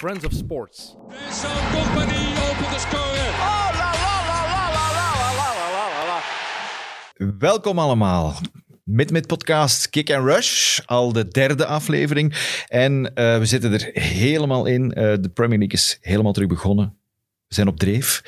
Friends of Sports. Vincent Company opent de score. Oh, la la la la la la la la la la. Welkom allemaal. Mid Mid Podcast Kick and Rush, al de derde aflevering. En eh, we zitten er helemaal in. Eh, de Premier League is helemaal terug begonnen. We zijn op dreef.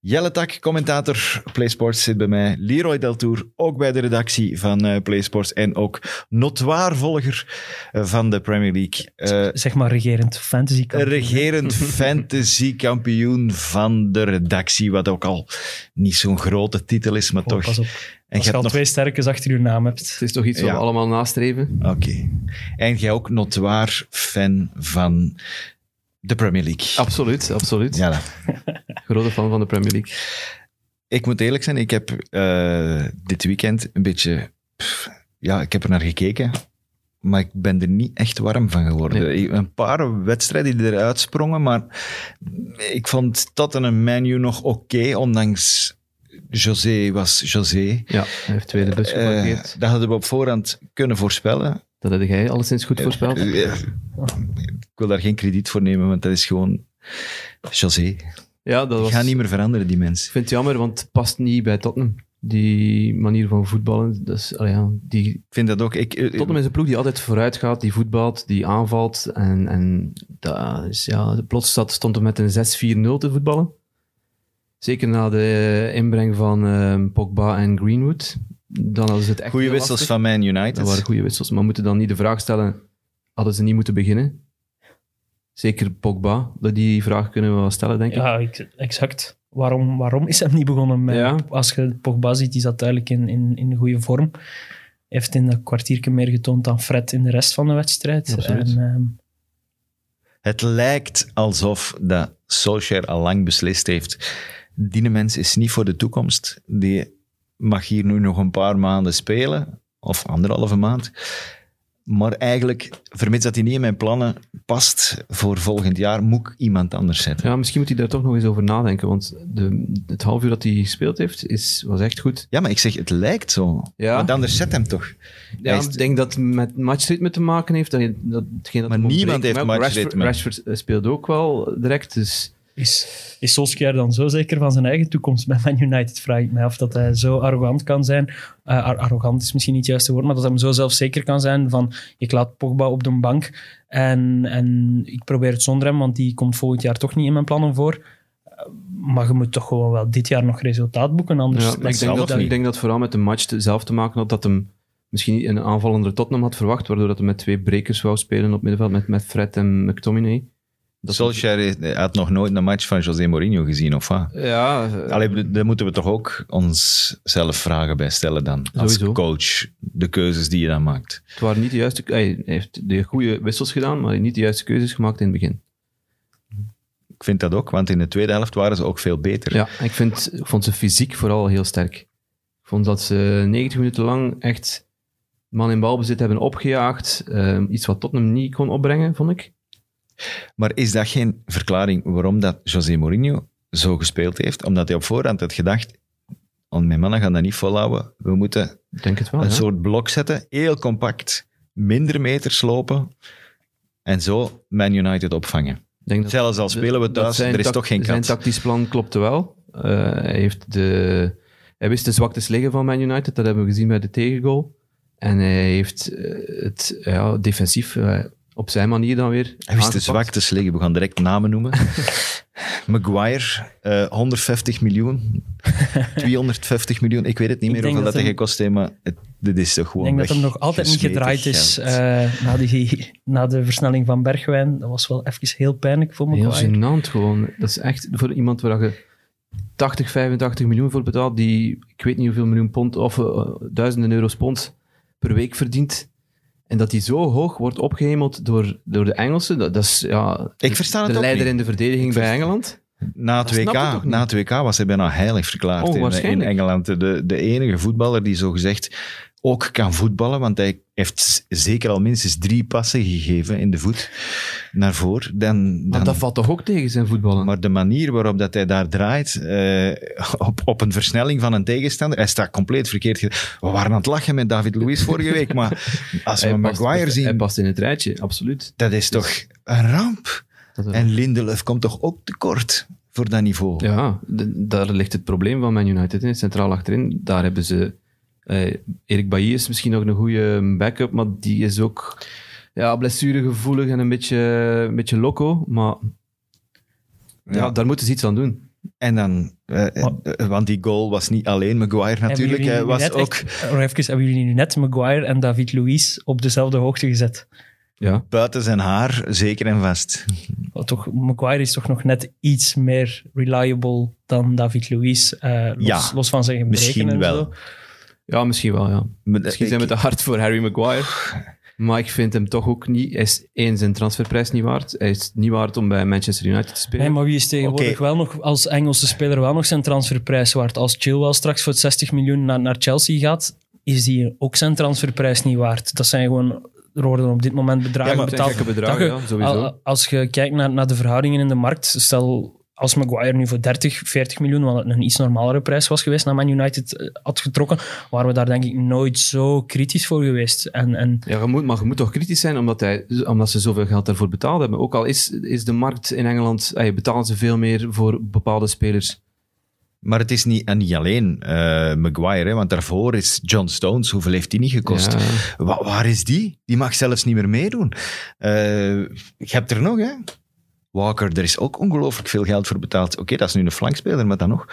Jelle Tak, commentator PlaySports, zit bij mij. Leroy Deltour, ook bij de redactie van eh, PlaySports. En ook notwaar volger eh, van de Premier League. Eh, zeg maar regerend fantasy kampioen. regerend fantasy kampioen van de redactie. Wat ook al niet zo'n grote titel is, maar Oh, toch. Pas op, en als je je al hebt nog twee sterkes achter je naam Het hebt. is toch iets wat Ja. we allemaal nastreven? Oké. En jij ook notwaar fan van de Premier League. Absoluut, absoluut. Ja, dan. Grote fan van de Premier League. ik moet eerlijk zijn, ik heb eh, dit weekend een beetje... pff, ja, ik heb er naar gekeken, maar ik ben er niet echt warm van geworden. Nee. Een paar wedstrijden die eruit sprongen, maar ik vond Tottenham menu nog oké, ondanks... José was José. Ja, hij heeft tweede bus Eh, geparkeerd. dat hadden we op voorhand kunnen voorspellen. dat had jij alleszins goed voorspeld. Eh, Ik wil daar geen krediet voor nemen, want dat is gewoon José. Ja, dat Die was... gaan niet meer veranderen, die Ik mensen. vind het jammer, want het past niet bij Tottenham. Die manier van voetballen. Dat is, allee, ja, die, Ik vind dat ook. Ik, eh, Tottenham is een ploeg die altijd vooruit gaat, die voetbalt, die aanvalt. En, en dat is, ja, plots zat, stond er met een 6-4-0 te voetballen. Zeker na de inbreng van ehm, Pogba en Greenwood. Dan hadden ze het echt goede heel wissels lastig. van Man Dat waren United. goede wissels. Maar we moeten dan niet de vraag stellen, hadden ze niet moeten beginnen? Zeker Pogba, dat die vraag kunnen we wel stellen, denk ik. Ja, ik- exact. Waarom, waarom is hij niet begonnen met... Ja. Als je Pogba ziet, die zat duidelijk in, in, in goede vorm. Heeft in dat kwartiertje meer getoond dan Fred in de rest van de wedstrijd. Absoluut. En, ehm, Het lijkt alsof dat Solskjaer al lang beslist heeft. Die mens is niet voor de toekomst. Die mag hier nu nog een paar maanden spelen, of anderhalve maand. Maar eigenlijk, vermits dat hij niet in mijn plannen past voor volgend jaar, moet ik iemand anders zetten. Ja, misschien moet hij daar toch nog eens over nadenken, want de, het half uur dat hij gespeeld heeft, is, was echt goed. Ja, maar ik zeg, het lijkt zo. Ja. Want anders zet hem toch. Ja, Hij is- ik denk dat het met matchritme te maken heeft. Dat, je- dat, hetgeen dat Maar hem niemand ontbreekt. heeft Maar ook matchritme. Rashford, Rashford eh, speelde ook wel direct, dus Is, is Solskjaer dan zo zeker van zijn eigen toekomst bij Man United? Vraag ik mij af dat hij zo arrogant kan zijn. Eh, ar- arrogant is misschien niet het juiste woord, maar dat hij hem zo zelfzeker kan zijn van ik laat Pogba op de bank en, en ik probeer het zonder hem, want die komt volgend jaar toch niet in mijn plannen voor. Eh, Maar je moet toch gewoon wel dit jaar nog resultaat boeken, anders... Ja, maar Dus ik, zal denk of dat, ik niet. denk dat vooral met de match te- zelf te maken had dat hem misschien niet een aanvallender Tottenham had verwacht, waardoor dat hij met twee brekers wou spelen op middenveld, met, met Fred en McTominay. Dat Solskjaer is- had nog nooit een match van José Mourinho gezien, of wat? Ja, eh, Allee, bedoel, daar moeten we toch ook onszelf vragen bij stellen dan. Als Sowieso. coach, de keuzes die je dan maakt. het waren niet de juiste... Hij heeft de goede wissels gedaan, maar niet de juiste keuzes gemaakt in het begin. Ik vind dat ook, want in de tweede helft waren ze ook veel beter. Ja, ik, vind, ik vond ze fysiek vooral heel sterk. Ik vond dat ze 90 minuten lang echt man in balbezit hebben opgejaagd. eh, iets wat Tottenham niet kon opbrengen, vond ik. Maar is dat geen verklaring waarom dat José Mourinho zo gespeeld heeft? Omdat hij op voorhand had gedacht, "Oh, mijn mannen gaan dat niet volhouden. We moeten Ik denk het wel, een Ah, ja. soort blok zetten, heel compact, minder meters lopen en zo Man United opvangen. Ik denk dat- Zelfs al spelen we Dat thuis, zijn er is tac- toch geen Zijn kans. tactisch plan klopte wel. Eh, hij, heeft de, hij wist de zwaktes liggen van Man United. Dat hebben we gezien bij de tegengoal. En hij heeft eh, het ja, defensief eh, op zijn manier dan weer Hij wist de aangepakt. zwaktes liggen. We gaan direct namen noemen. Maguire, eh, 150 miljoen. 250 miljoen. Ik weet het niet Ik meer denk hoeveel dat dat hij hem- gekost heeft, maar het- dit is toch Ik gewoon denk dat hem weg nog altijd niet gesmeten gedraaid is geld. eh, na, die, na de versnelling van Bergwijn. Dat was wel even heel pijnlijk voor me. Heel gênant gewoon. Dat is echt voor iemand waar je 80, 85 miljoen voor betaalt. Die ik weet niet hoeveel miljoen pond of eh, duizenden euro's pond per week verdient. En dat die zo hoog wordt opgehemeld door, door de Engelsen. Dat, dat is ja, Ik versta het de ook leider niet. in de verdediging bij Engeland. Na het, Dat snap ik WK, toch niet. na het WK was hij bijna heilig Oh, verklaard in, eh, in Onwaarschijnlijk. Engeland. De, de enige voetballer die zogezegd ook kan voetballen, want hij heeft z- zeker al minstens drie passen gegeven in de voet naar voren. Dan, Maar dan, dat valt toch ook tegen zijn voetballen? Maar de manier waarop dat hij daar draait, eh, op, op een versnelling van een tegenstander, hij staat compleet verkeerd. ge- We waren aan het lachen met David Luiz vorige week, maar als we Hij past- Maguire Hij zien, past in het rijtje, absoluut. dat is toch een ramp. Dat is- En Lindelöf komt toch ook tekort voor dat niveau? Ja, d- daar ligt het probleem van Man United. Hè. Centraal achterin, daar hebben ze... eh Erik Bailly is misschien nog een goede backup, maar die is ook ja, blessuregevoelig en een beetje, een beetje loco. Maar ja. Ja. daar moeten ze iets aan doen. En dan, eh, eh, Maar- eh, want die goal was niet alleen Maguire natuurlijk, hij Hebben jullie nu was net ook echt- Eh, even, hebben jullie nu net Maguire en David Luiz op dezelfde hoogte gezet? Ja. buiten zijn haar, zeker en vast. Wel, Toch, Maguire is toch nog net iets meer reliable dan David Luiz. eh, los, Ja, los van zijn gebreken misschien en wel. zo. ja, misschien wel, ja. Maar Misschien ik- zijn we te hard voor Harry Maguire. Maar ik vind hem toch ook niet... Hij is één, zijn transferprijs niet waard. Hij is niet waard om bij Manchester United te spelen. Nee, maar wie is tegenwoordig Oké. wel nog als Engelse speler wel nog zijn transferprijs waard? Als Chilwell straks voor 60 miljoen naar, naar Chelsea gaat, is die ook zijn transferprijs niet waard. Dat zijn gewoon er worden op dit moment bedragen Ja, maar- dat zijn betaald. gekke bedragen, Dat ja, sowieso. Al- Als je kijkt naar, naar de verhoudingen in de markt, stel als Maguire nu voor 30, 40 miljoen, wat een iets normalere prijs was geweest, naar Man United eh, had getrokken, waren we daar denk ik nooit zo kritisch voor geweest. En, en Ja, je moet, maar je moet toch kritisch zijn omdat, hij, omdat ze zoveel geld daarvoor betaald hebben. Ook al is, is de markt in Engeland, eh, betalen ze veel meer voor bepaalde spelers. Maar het is niet, en niet alleen eh, Maguire, hè, want daarvoor is John Stones, hoeveel heeft die niet gekost? Ja, Wa- waar is die? Die mag zelfs niet meer meedoen. Eh, je hebt er nog, hè? Walker, er is ook ongelooflijk veel geld voor betaald. Oké, dat is nu een flankspeler, maar dan nog.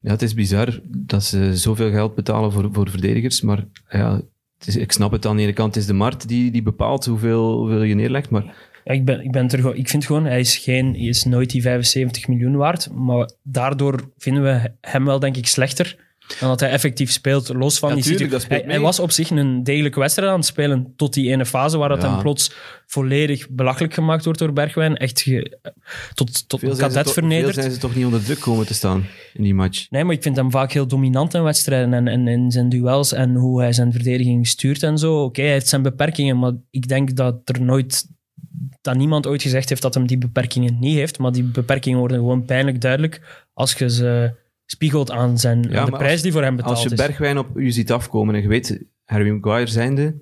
ja, het is bizar dat ze zoveel geld betalen voor, voor verdedigers. Maar ja, het is- ik snap het aan de ene kant, het is de markt die, die bepaalt hoeveel, hoeveel je neerlegt. Maar ja, ik, ben, ik, ben het er, gewoon- ik vind gewoon, hij is, geen, hij is nooit die 75 miljoen waard, maar daardoor vinden we hem wel denk ik slechter dan dat hij effectief speelt, los van Ja, die tuurlijk, situ- dat speelt hij, mee. hij was op zich een degelijke wedstrijd aan het spelen, tot die ene fase waar dat Ja. hem plots volledig belachelijk gemaakt wordt door Bergwijn. Echt ge- tot, tot veel een zijn, ze kadet toch, veel vernederd. zijn ze toch niet onder druk komen te staan in die match. Nee, maar ik vind hem vaak heel dominant in wedstrijden en, en in zijn duels en hoe hij zijn verdediging stuurt en zo. Oké, hij heeft zijn beperkingen, maar ik denk dat er nooit dat niemand ooit gezegd heeft dat hem die beperkingen niet heeft, maar die beperkingen worden gewoon pijnlijk duidelijk als je ze spiegelt aan, zijn, aan maar de als- prijs die voor hem betaald Als je is. Bergwijn op u ziet afkomen en je weet, Harry Maguire zijnde,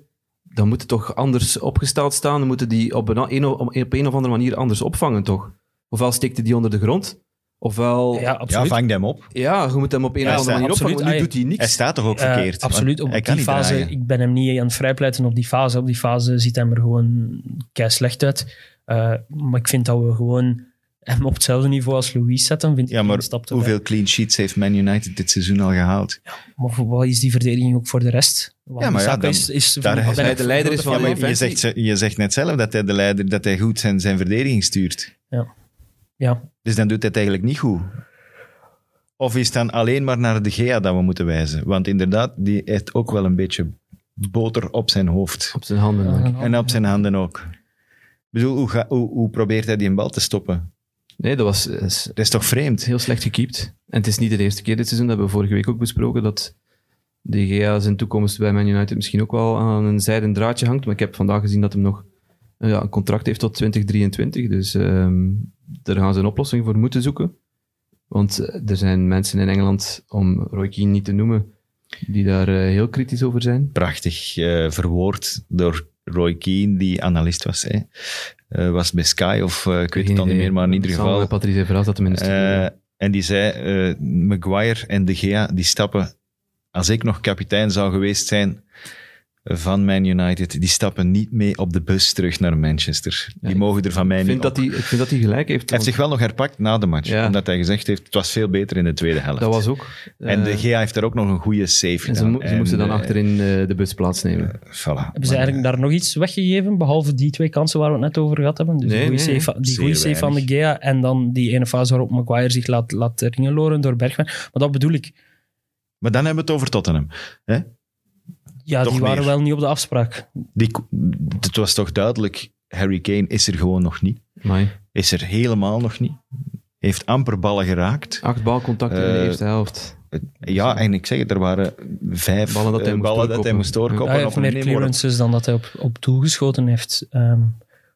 dan moet het toch anders opgesteld staan. Dan moeten die op een, een- op een of andere manier anders opvangen, toch? Ofwel steekt hij die onder de grond, ofwel... ja, Ja, Ja, absoluut. vang hem op. je moet hem op een Ja, of andere manier absoluut. opvangen, want nu Ah, doet hij Hij niks. staat toch ook Eh, verkeerd? Want absoluut, op hij kan die niet fase, draaien. ik ben hem niet aan het vrijpleiten op die fase. Op die fase ziet hij er gewoon kei slecht uit. Eh, maar ik vind dat we gewoon hem op hetzelfde niveau als Louis zetten. Vind ik Ja, een maar stap te ver. hoeveel clean sheets heeft Man United dit seizoen al gehaald? Maar voor- wat is die verdediging ook voor de rest? Want Ja, maar ja, Saka dan- is, is daar is hij de leider is van Ja, de maar je, defensie. zegt, ze- je zegt net zelf dat hij, de leider, dat hij goed zijn, zijn verdediging stuurt. Ja, Dus dan doet hij het eigenlijk niet goed. Of is het dan alleen maar naar de Gea dat we moeten wijzen? Want inderdaad, die heeft ook wel een beetje boter op zijn hoofd. Op zijn handen. denk ik. En op zijn handen ook. Ik bedoel, hoe, ga- hoe, hoe probeert hij die een bal te stoppen? Nee, dat was dat is Dat is toch vreemd? heel slecht gekiept. En het is niet de eerste keer dit seizoen, dat hebben we vorige week ook besproken, dat de GA zijn toekomst bij Man United misschien ook wel aan een zijden draadje hangt. Maar ik heb vandaag gezien dat hem nog eh, ja, een contract heeft tot 2023. Dus ehm, daar gaan ze een oplossing voor moeten zoeken. Want eh, er zijn mensen in Engeland, om Roy Keane niet te noemen, die daar eh, heel kritisch over zijn. Prachtig eh, verwoord door Roy Keane, die analist was. Hè. Eh, was bij Sky of eh, ik weet het Geen al niet idee. meer, maar in ieder Samen geval... met Patrice Evra zat hem in de studio. Eh, en die zei, eh, Maguire en De Gea, die stappen, als ik nog kapitein zou geweest zijn van Man United, die stappen niet mee op de bus terug naar Manchester. Die ik mogen er van mij ik, niet vind op. dat hij, ik vind dat hij gelijk heeft. Hij heeft zich want wel nog herpakt na de match, Ja. omdat hij gezegd heeft, het was veel beter in de tweede helft. dat was ook. en eh, De Gea heeft daar ook nog een goede save En gedaan. ze, mo- ze En, moesten dan eh, achterin eh, de bus plaatsnemen. Voilà. eh, hebben ze eigenlijk daar nog iets weggegeven, behalve die twee kansen waar we het net over gehad hebben? Dus Nee, die goede nee, nee. save, die Zeer goede save van de weinig. Gea en dan die ene fase waarop Maguire zich laat, laat ringeloren door Bergwijn. Maar dat bedoel ik, Maar dan hebben we het over Tottenham. ja, Toch die waren meer. wel niet op de afspraak. Die, ko- het was toch duidelijk, Harry Kane is er gewoon nog niet. Amai. Is er helemaal nog niet. Heeft amper ballen geraakt. Acht balcontacten in de Eh, eerste helft. Ja, en ik zeg het, er waren vijf Ah, Ballen dat hij eh, moest ballen dat hij doorkoppen. moest doorkoppen. Ah, Hij of heeft er meer niet worden. clearances dan dat hij op, op doel geschoten heeft. Ehm,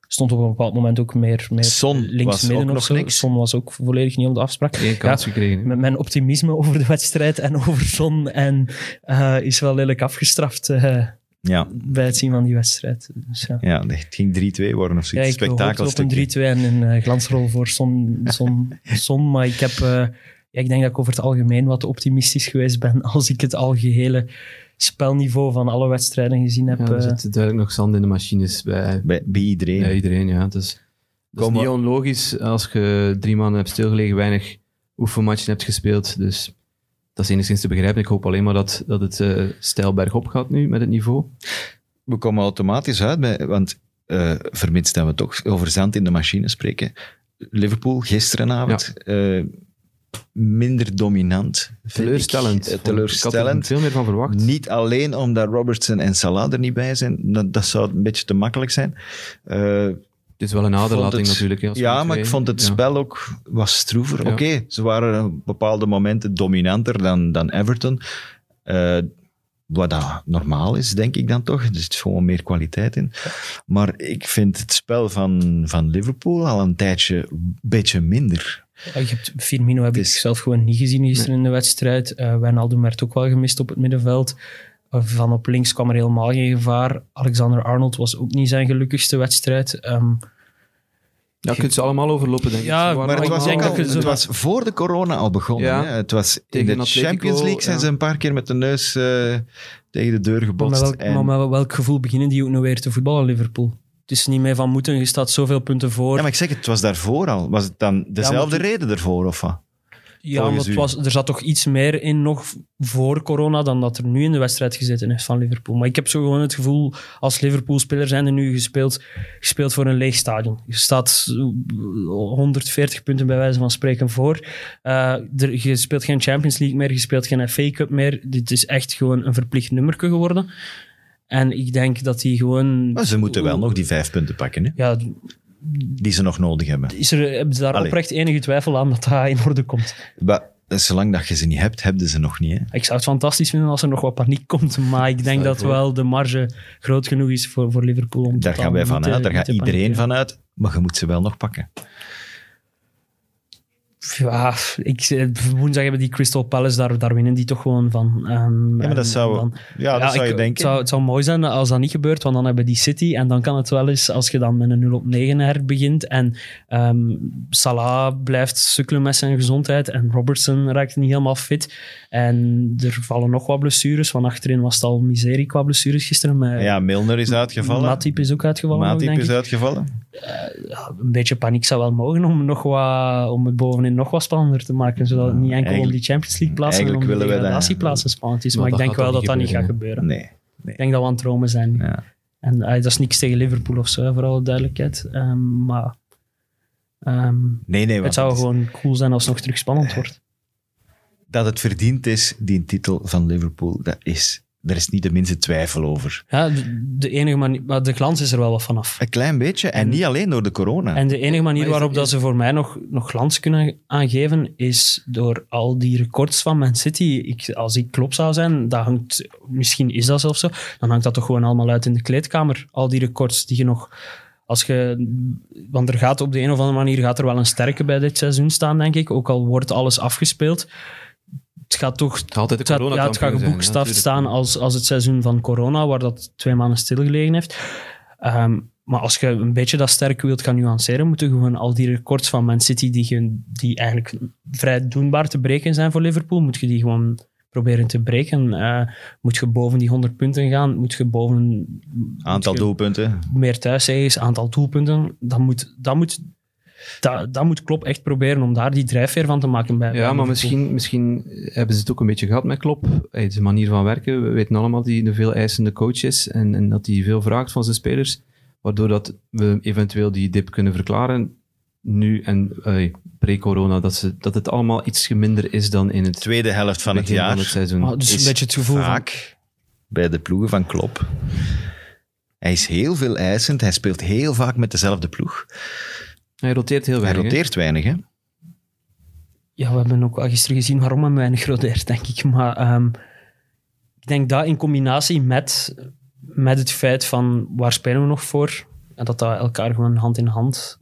stond op een bepaald moment ook meer, meer Son links was midden ook of nog zo. niks. Son was ook volledig niet op de afspraak. Eén kans gekregen. hè. M- mijn optimisme over de wedstrijd en over Son en, eh, is wel lelijk afgestraft. eh. Ja, bij het zien van die wedstrijd. Dus, ja. ja, nee, het ging 3-2 worden of Ja, zoiets. ik hoopte op een 3-2 Spektakelstukje. en een eh, glansrol voor Son, son, son maar ik, heb, eh, ja, ik denk dat ik over het algemeen wat optimistisch geweest ben als ik het algehele spelniveau van alle wedstrijden gezien heb. Ja, er eh. zit duidelijk nog zand in de machines bij, Bij, bij iedereen. bij iedereen. Ja. Dus, dat is Kom, niet maar- onlogisch als je drie maanden hebt stilgelegen, weinig oefenmatchen hebt gespeeld. Dus dat is enigszins te begrijpen. Ik hoop alleen maar dat, dat het eh stijl bergop gaat nu met het niveau. We komen automatisch uit, bij, want eh vermits dat we toch over zand in de machine spreken. Liverpool gisterenavond eh, minder dominant. vind ik. Teleurstellend. Vond- Eh, Ik had er teleurstellend. veel meer van verwacht. Niet alleen omdat Robertson en Salah er niet bij zijn, dat, dat zou een beetje te makkelijk zijn. Eh, Het is wel een vond aderlating het- natuurlijk. hè, als Ja, je maar twee- ik vond het ja. spel ook was stroever. Ja. Oké, ze waren op bepaalde momenten dominanter dan, dan Everton. Eh, wat dat normaal is, denk ik dan toch. Er zit gewoon meer kwaliteit in. Maar ik vind het spel van, van Liverpool al een tijdje een beetje minder. Ja, je hebt Firmino heb ik Het is- zelf gewoon niet gezien gisteren in de wedstrijd. Eh Wijnaldum werd ook wel gemist op het middenveld. Eh, van op links kwam er helemaal geen gevaar. Alexander Arnold was ook niet zijn gelukkigste wedstrijd. Ehm, Ja, je kunt ze allemaal overlopen, denk ik. Ja, Ze waren Maar het was, allemaal- ook denk al- dat je zo- het was voor de corona al begonnen. Ja. Hè? Het was in Tegen de Atletico, Champions League zijn ja. ze een paar keer met de neus eh, tegen de deur maar, gebotst. met welk, En- maar met welk gevoel beginnen die ook nou weer te voetballen, Liverpool? Het is niet meer van moeten, je staat zoveel punten voor. ja, maar ik zeg, het was daarvoor al. Was het dan dezelfde toen- reden ervoor of wat? Ja, maar volgens het u? was, er zat toch iets meer in nog voor corona dan dat er nu in de wedstrijd gezeten is van Liverpool. Maar ik heb zo gewoon het gevoel, als Liverpool-speler zijn er nu gespeeld, gespeeld voor een leeg stadion. Je staat eh, 140 punten bij wijze van spreken voor. Eh, er, je speelt geen Champions League meer, je speelt geen FA Cup meer. Dit is echt gewoon een verplicht nummerke geworden. En ik denk dat die gewoon... Maar ze moeten wel nog die vijf punten pakken, hè? Ja, die ze nog nodig hebben. is er, hebben ze daar Allee. oprecht enige twijfel aan dat dat in orde komt? Wa- zolang dat je ze niet hebt, hebben ze nog niet. Hè? Ik zou het fantastisch vinden als er nog wat paniek komt, maar ik denk je dat voor? wel de marge groot genoeg is voor, voor Liverpool. Om Daar totaal gaan wij niet van te- uit, daar niet gaat te panikeren. iedereen van uit. Maar je moet ze wel nog pakken. Ja, ik, eh, woensdag hebben die Crystal Palace, daar, daar winnen die toch gewoon van. Ehm, Ja, maar dat en zou, dan- ja, dat Ja, zou ik- je Het denken. zou, het zou mooi zijn als dat niet gebeurt, want dan hebben die City. En dan kan het wel eens, als je dan met een 0 op 9 herbegint. En ehm, Salah blijft sukkelen met zijn gezondheid. En Robertson raakt niet helemaal fit. En er vallen nog wat blessures. Van achterin was het al miserie qua blessures gisteren. Met Ja, Milner is uitgevallen. Matip is ook uitgevallen. nog, Matip denk is ik. uitgevallen. Ja, een beetje paniek zou wel mogen om, nog wat, om het bovenin nog wat spannender te maken. Zodat het niet enkel om Eigenlijk- die Champions League plaatsen en om eigenlijk willen die wij dat- degradatieplaatsen spannend is. Maar Maar, ik dat denk gaat wel toch dat dat niet niet gaat gebeuren, gebeuren. Nee. Ik denk dat we aan het dromen zijn nu. Ja. En eh, dat is niks tegen Liverpool of zo, hè, voor alle duidelijkheid. Ehm, maar ehm, Nee, nee, het want zou het is- gewoon cool zijn als het nog terug spannend wordt. dat het verdiend is, die titel van Liverpool, dat is, daar is niet de minste twijfel over. Ja, de, de enige manier, maar de glans is er wel wat vanaf. Een klein beetje, en, En- niet alleen door de corona. En de enige Maar manier is waarop het- dat ze voor mij nog, nog glans kunnen aangeven, is door al die records van Man City. Ik, als ik klop zou zijn, dat hangt, misschien is dat zelfs zo, dan hangt dat toch gewoon allemaal uit in de kleedkamer. Al die records die je nog... Als je, want er gaat op de een of andere manier gaat er wel een sterke bij dit seizoen staan, denk ik. Ook al wordt alles afgespeeld. Het gaat toch Het gaat altijd de het gaat, corona ja, het gaat geboekstaafd staan als, als het seizoen van corona, waar dat twee maanden stilgelegen heeft. Ehm, maar als je een beetje dat sterk wilt gaan nuanceren, moeten gewoon al die records van Man City, die, je- die eigenlijk vrij doenbaar te breken zijn voor Liverpool, moet je die gewoon proberen te breken. Eh, moet je boven die 100 punten gaan, moet je boven Aantal moet je doelpunten. meer thuiszegers, aantal doelpunten, dan moet, dat moet, dat, dat moet Klopp echt proberen om daar die drijfveer van te maken. Bij, bij Ja, maar Liverpool. misschien, misschien hebben ze het ook een beetje gehad met Klop. Hey, zijn manier van werken. We weten allemaal dat hij een veel eisende coach is en, en dat hij veel vraagt van zijn spelers. Waardoor dat we eventueel die dip kunnen verklaren. Nu en eh, pre-corona, dat, ze- dat het allemaal iets minder is dan in het Tweede helft van het begin jaar. van het seizoen. Ah, dus is een beetje het gevoel van, vaak bij de ploegen van Klopp. Hij is heel veel eisend. Hij speelt heel vaak met dezelfde ploeg. Hij roteert heel Hij weinig. hè? roteert weinig, hè? Ja, we hebben ook al gisteren gezien waarom men weinig rodeert, denk ik. Maar ehm, ik denk dat in combinatie met, met het feit van waar spelen we nog voor, en dat dat elkaar gewoon hand in hand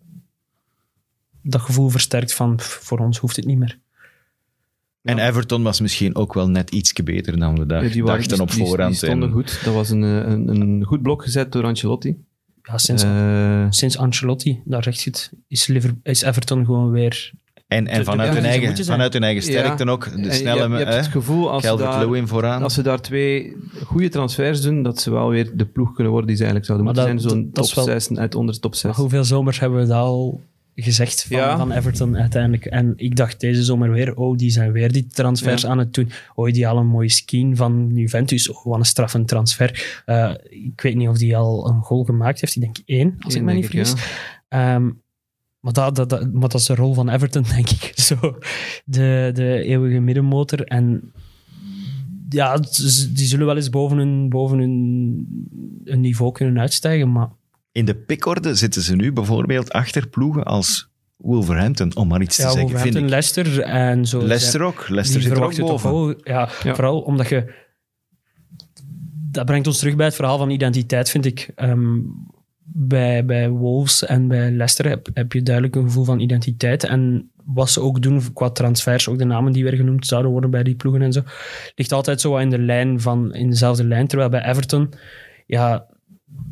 dat gevoel versterkt van pff, voor ons hoeft het niet meer. En Everton was misschien ook wel net ietsje beter dan we Ja, dacht- waren- dachten op die- die- voorhand. Die stonden En- goed. Dat was een, eh, een, een goed blok gezet door Ancelotti. Ja, sinds, Eh, sinds Ancelotti daar recht zit, is, Liver- is Everton gewoon weer... En, en Ze- vanuit, ja, hun ze eigen, moeten zijn. vanuit hun eigen Ja. sterkte ook. De en snelle, je, hebt- je hebt het gevoel als ze, Calvert daar, Lewin vooraan. als ze daar twee goede transfers doen, dat ze wel weer de ploeg kunnen worden die ze eigenlijk zouden Maar moeten dat- zijn. Zo'n dat top is wel- 6 en uit onder de top 6. Hoeveel zomers hebben we dat al gezegd van, Dus- Ja. van Everton uiteindelijk? En ik dacht deze zomer weer, oh, die zijn weer die transfers Ja. aan het doen. Oh, die al een mooie skin van Juventus. Oh, wat een straffend transfer. Eh, ik weet niet of die al een goal gemaakt heeft. Ik denk één, als ik me niet vergis. Ehm, maar, dat, dat, dat, maar dat is de rol van Everton, denk ik. Zo, de, de eeuwige middenmotor. En ja, het is- die zullen wel eens boven hun, boven hun, hun niveau kunnen uitstijgen. Maar In de pikorde zitten ze nu bijvoorbeeld achter ploegen als Wolverhampton, om maar iets ja, te zeggen. Vind Wolverhampton, ik. Leicester en zo. Leicester ook. Leicester die zit er ook verwachten toch boven. wel. Ja, Ja. Vooral omdat je... Dat brengt ons terug bij het verhaal van identiteit, vind ik. Ehm, bij, bij Wolves en bij Leicester heb, heb je duidelijk een gevoel van identiteit. En wat ze ook doen qua transfers, ook de namen die weer genoemd zouden worden bij die ploegen en zo, ligt altijd zo wat in de lijn van, in dezelfde lijn. Terwijl bij Everton, ja,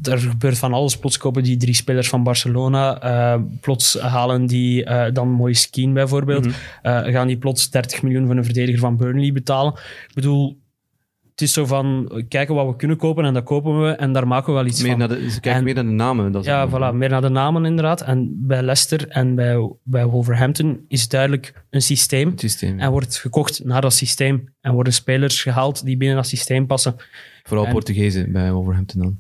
er gebeurt van alles. Plots kopen die drie spelers van Barcelona. eh, plots halen die eh, dan mooie skin bijvoorbeeld. Mhm. Eh, gaan die plots 30 miljoen van een verdediger van Burnley betalen. Ik bedoel, het is zo van eh, kijken wat we kunnen kopen en dat kopen we en daar maken we wel iets Meer van. naar de, ze kijken En- meer naar de namen. Dat is Ja, het. voilà, meer naar de namen inderdaad. En bij Leicester en bij, bij Wolverhampton is duidelijk een systeem. Het systeem. En wordt gekocht naar dat systeem. En worden spelers gehaald die binnen dat systeem passen. Vooral en- Portugezen bij Wolverhampton dan.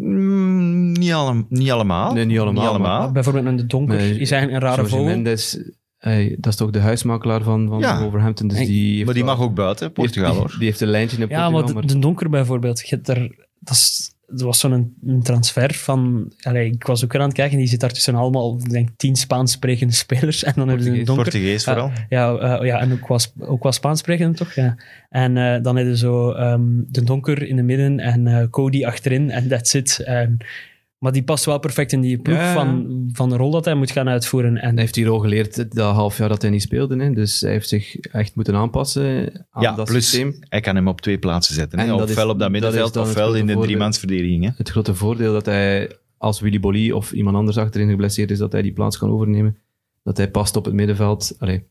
Mm, niet, alle- niet allemaal. Nee, niet allemaal, Maar Bijvoorbeeld in de donker Nee, is eigenlijk een rare Jorge vogel. Mendes, eh, dat is toch de huismakelaar van, van Ja. Wolverhampton. Dus En- die heeft Maar die wel- mag ook buiten, Portugal die, hoor. Die heeft een lijntje in Ja, Portugal, maar maar, de, de donker bijvoorbeeld. Je hebt er, dat, is, dat was zo'n een, transfer van... Allee, ik was ook eraan het kijken. Die zit daar tussen allemaal, ik denk, tien Spaans sprekende spelers. En dan hebben ze een Portugees. Portugees donker. vooral. Ah. Ja, eh, ja en ook was, ook was Spaans spreken, toch? Ja. En eh, dan hadden zo ehm, de donker in het midden en eh, Cody achterin en that's it. En, maar die past wel perfect in die ploeg Ja, ja, ja. Van, van de rol dat hij moet gaan uitvoeren. En Hij heeft hier al geleerd dat half jaar dat hij niet speelde. Hè. Dus hij heeft zich echt moeten aanpassen aan Ja, dat plus systeem. hij kan hem op twee plaatsen zetten. En hè. dat is- Ofwel op dat dat is middenveld, dan het ofwel grote in de voordeel. driemansverdediging. hè. Het grote voordeel dat hij, als Willy Bolly of iemand anders achterin geblesseerd is, dat hij die plaats kan overnemen. Dat hij past op het middenveld. Allee,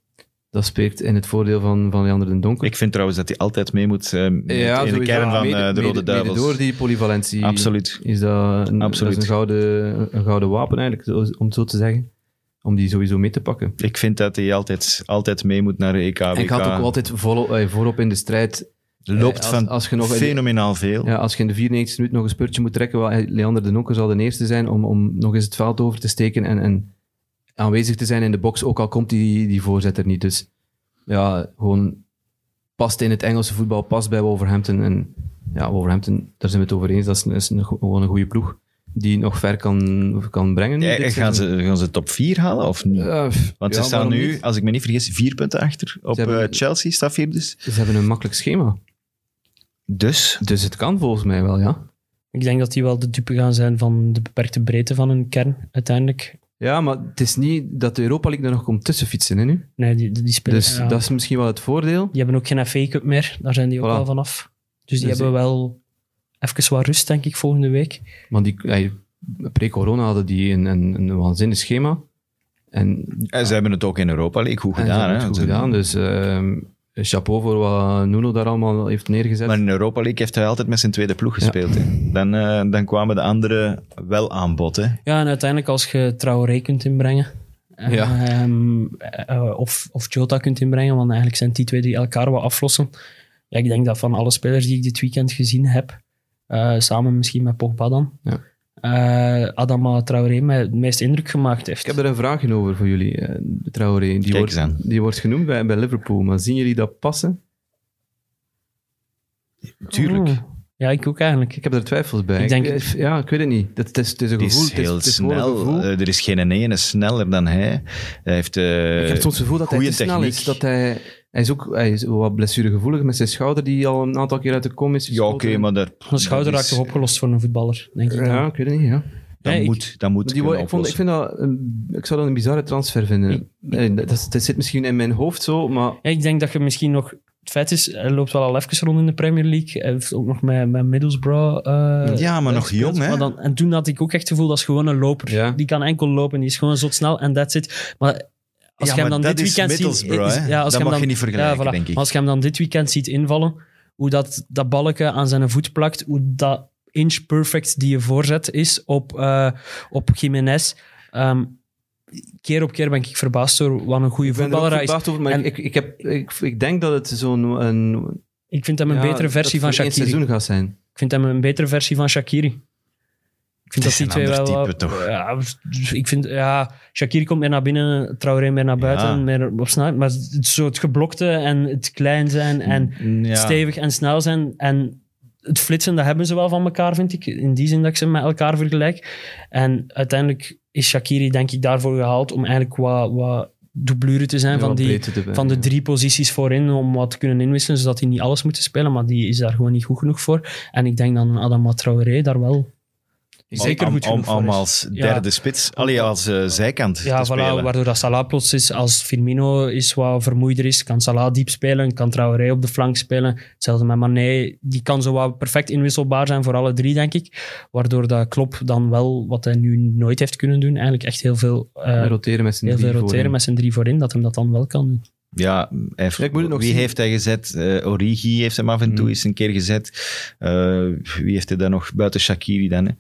dat spreekt in het voordeel van, van Leander den Donker. Ik vind trouwens dat hij altijd mee moet eh, met- in de sowieso. kern van Mede- eh, de mede- Rode mede Duivels. door die polyvalentie. Absoluut. is dat een, Absoluut. dat is een, gouden, een gouden wapen eigenlijk, zo- om het zo te zeggen. Om die sowieso mee te pakken. Ik vind dat hij altijd, altijd mee moet naar de E EK. En ik WK. had ook altijd volop, eh, voorop in de strijd. Loopt Eh, als- van als je nog- fenomenaal veel. Ja, als je in de 94 minuut nog een spurtje moet trekken, wel, eh, Leander de Nokke zal de eerste zijn om, om nog eens het veld over te steken en, en aanwezig te zijn in de box, ook al komt die, die voorzet er niet. Dus ja, gewoon past in het Engelse voetbal, past bij Wolverhampton. En ja, Wolverhampton, daar zijn we het over eens, dat is, een- is een go- gewoon een goede ploeg die nog ver kan, kan brengen. nu Ja, dit gaan, seizoen. ze, gaan ze top 4 halen of niet? Eh, pff, Want ze ja, staan waarom nu, niet? als ik me niet vergis, vier punten achter. Op hebben- eh, Chelsea staat vier dus. Ze hebben een makkelijk schema. Dus, Dus het kan volgens mij wel, ja. ik denk dat die wel de dupe gaan zijn van de beperkte breedte van hun kern uiteindelijk. Ja, maar het is niet dat de Europa League er nog komt tussen fietsen hè, nu. Nee, die, die die spelers... Dus ja. dat is misschien wel het voordeel. Die hebben ook geen FA Cup meer. Daar zijn die ook Voilà. wel vanaf. Dus die Dus hebben wel even wat rust, denk ik, volgende week. Want die, ja, pre-corona hadden die een, een, een waanzinnig schema. En, en eh, ze hebben het ook in Europa League goed en ze hebben het gedaan. hè. goed Ze- gedaan. Dus ehm, chapeau voor wat Nuno daar allemaal heeft neergezet. Maar in Europa League heeft hij altijd met zijn tweede ploeg gespeeld. hè. Dan, eh, dan kwamen de anderen wel aan bod. Hè. Ja, en uiteindelijk als je Traoré kunt inbrengen. Ja. ehm, eh, eh, of, of Jota kunt inbrengen, want eigenlijk zijn die twee die elkaar wat aflossen. Ja, ik denk dat van alle spelers die ik dit weekend gezien heb, eh, samen misschien met Pogba dan, Ja. eh, Adama Traoré mij het meest indruk gemaakt heeft. ik heb er een vraag in over voor jullie, eh, Traoré. Die Kijk wordt, eens aan. die wordt genoemd bij, bij Liverpool, maar zien jullie dat passen? Tuurlijk. Oh. Ja, ik ook eigenlijk. Ik heb er twijfels bij. Ik denk- ja, ik weet het niet. Dat, het, is, het is een Het gevoel. is heel het is gewoon een snel. gevoel. Eh, er is geen ene sneller dan hij. Hij heeft... eh, ik heb soms het gevoel dat hij te goeie snel techniek. is. Dat hij, hij is ook hij is wat blessuregevoelig met zijn schouder die al een aantal keer uit de kom is ja, oké, geschoten. maar daar... Een schouder dus- dat raakt is- toch opgelost voor een voetballer, denk ik. dan. Ja, ik weet het niet, ja. Dat Ja, ik- moet, dat moet Die wo- kunnen ik, vond, ik, oplossen. vind dat een- ik zou dat een bizarre transfer vinden. Eh, dat, is- dat zit misschien in mijn hoofd zo, maar Ja, ik denk dat je misschien nog... Het feit is, hij loopt wel al even rond in de Premier League. Hij heeft ook nog met, met Middlesbrough... eh, ja, maar nog jong, hè? Maar dan, en toen had ik ook echt het gevoel, dat is gewoon een loper. Ja. Die kan enkel lopen, die is gewoon zo snel en that's it. Maar als Ja, je hem maar dan dat dit is weekend ziet... Middlesbrough, is- hè. ja, als Dat je hem mag dan, je niet vergelijken, ja, voilà. denk ik. Maar als je hem dan dit weekend ziet invallen, hoe dat, dat balken aan zijn voet plakt, hoe dat inch perfect die je voorzet is op, eh, op Jiménez... Ehm, keer op keer ben ik verbaasd door wat een goede ik ben er ook voetballer hij is. verbaasd over. Maar En- ik, ik, heb, ik, ik denk dat het zo'n... Een, Ik vind hem een ja, betere versie van dat het voor één Shakiri. seizoen gaat zijn. Ik vind hem een betere versie van Shakiri. Ik vind Het is dat die een twee wel. ander wel- type, toch? Ja, ik vind, ja, Shakiri komt meer naar binnen, Traoré meer naar buiten, Ja. meer op snelheid. Maar het, zo het geblokte en het klein zijn en Ja. stevig en snel zijn en het flitsen, dat hebben ze wel van elkaar, vind ik. In die zin dat ik ze met elkaar vergelijk. En uiteindelijk is Shakiri, denk ik, daarvoor gehaald om eigenlijk wat, wat dublure te zijn Ja, van om die, breedte te brengen, van Eh, de ja. drie posities voorin om wat te kunnen inwisselen, zodat hij niet alles moet spelen. Maar die is daar gewoon niet goed genoeg voor. En ik denk dan Adama Traoré daar wel. Zeker goed genoeg voor om is. als Ja. derde spits, allee, als eh, zijkant Ja, te spelen. voilà, waardoor dat Salah plots is. Als Firmino is wat vermoeider is, kan Salah diep spelen, kan Traoré op de flank spelen. Hetzelfde met Mané. Die kan zo wat perfect inwisselbaar zijn voor alle drie, denk ik. Waardoor dat Klopp dan wel, wat hij nu nooit heeft kunnen doen, eigenlijk echt heel veel, eh, En roteren met z'n heel veel drie roteren voorin. met zijn drie voorin, dat hem dat dan wel kan doen. Ja, hij heeft- Ja, ik moet het nog wie zien. heeft hij gezet? Eh, Origi heeft hem af en toe Hmm. eens een keer gezet. Eh, wie heeft hij dan nog? Buiten Shakiri dan. Hè?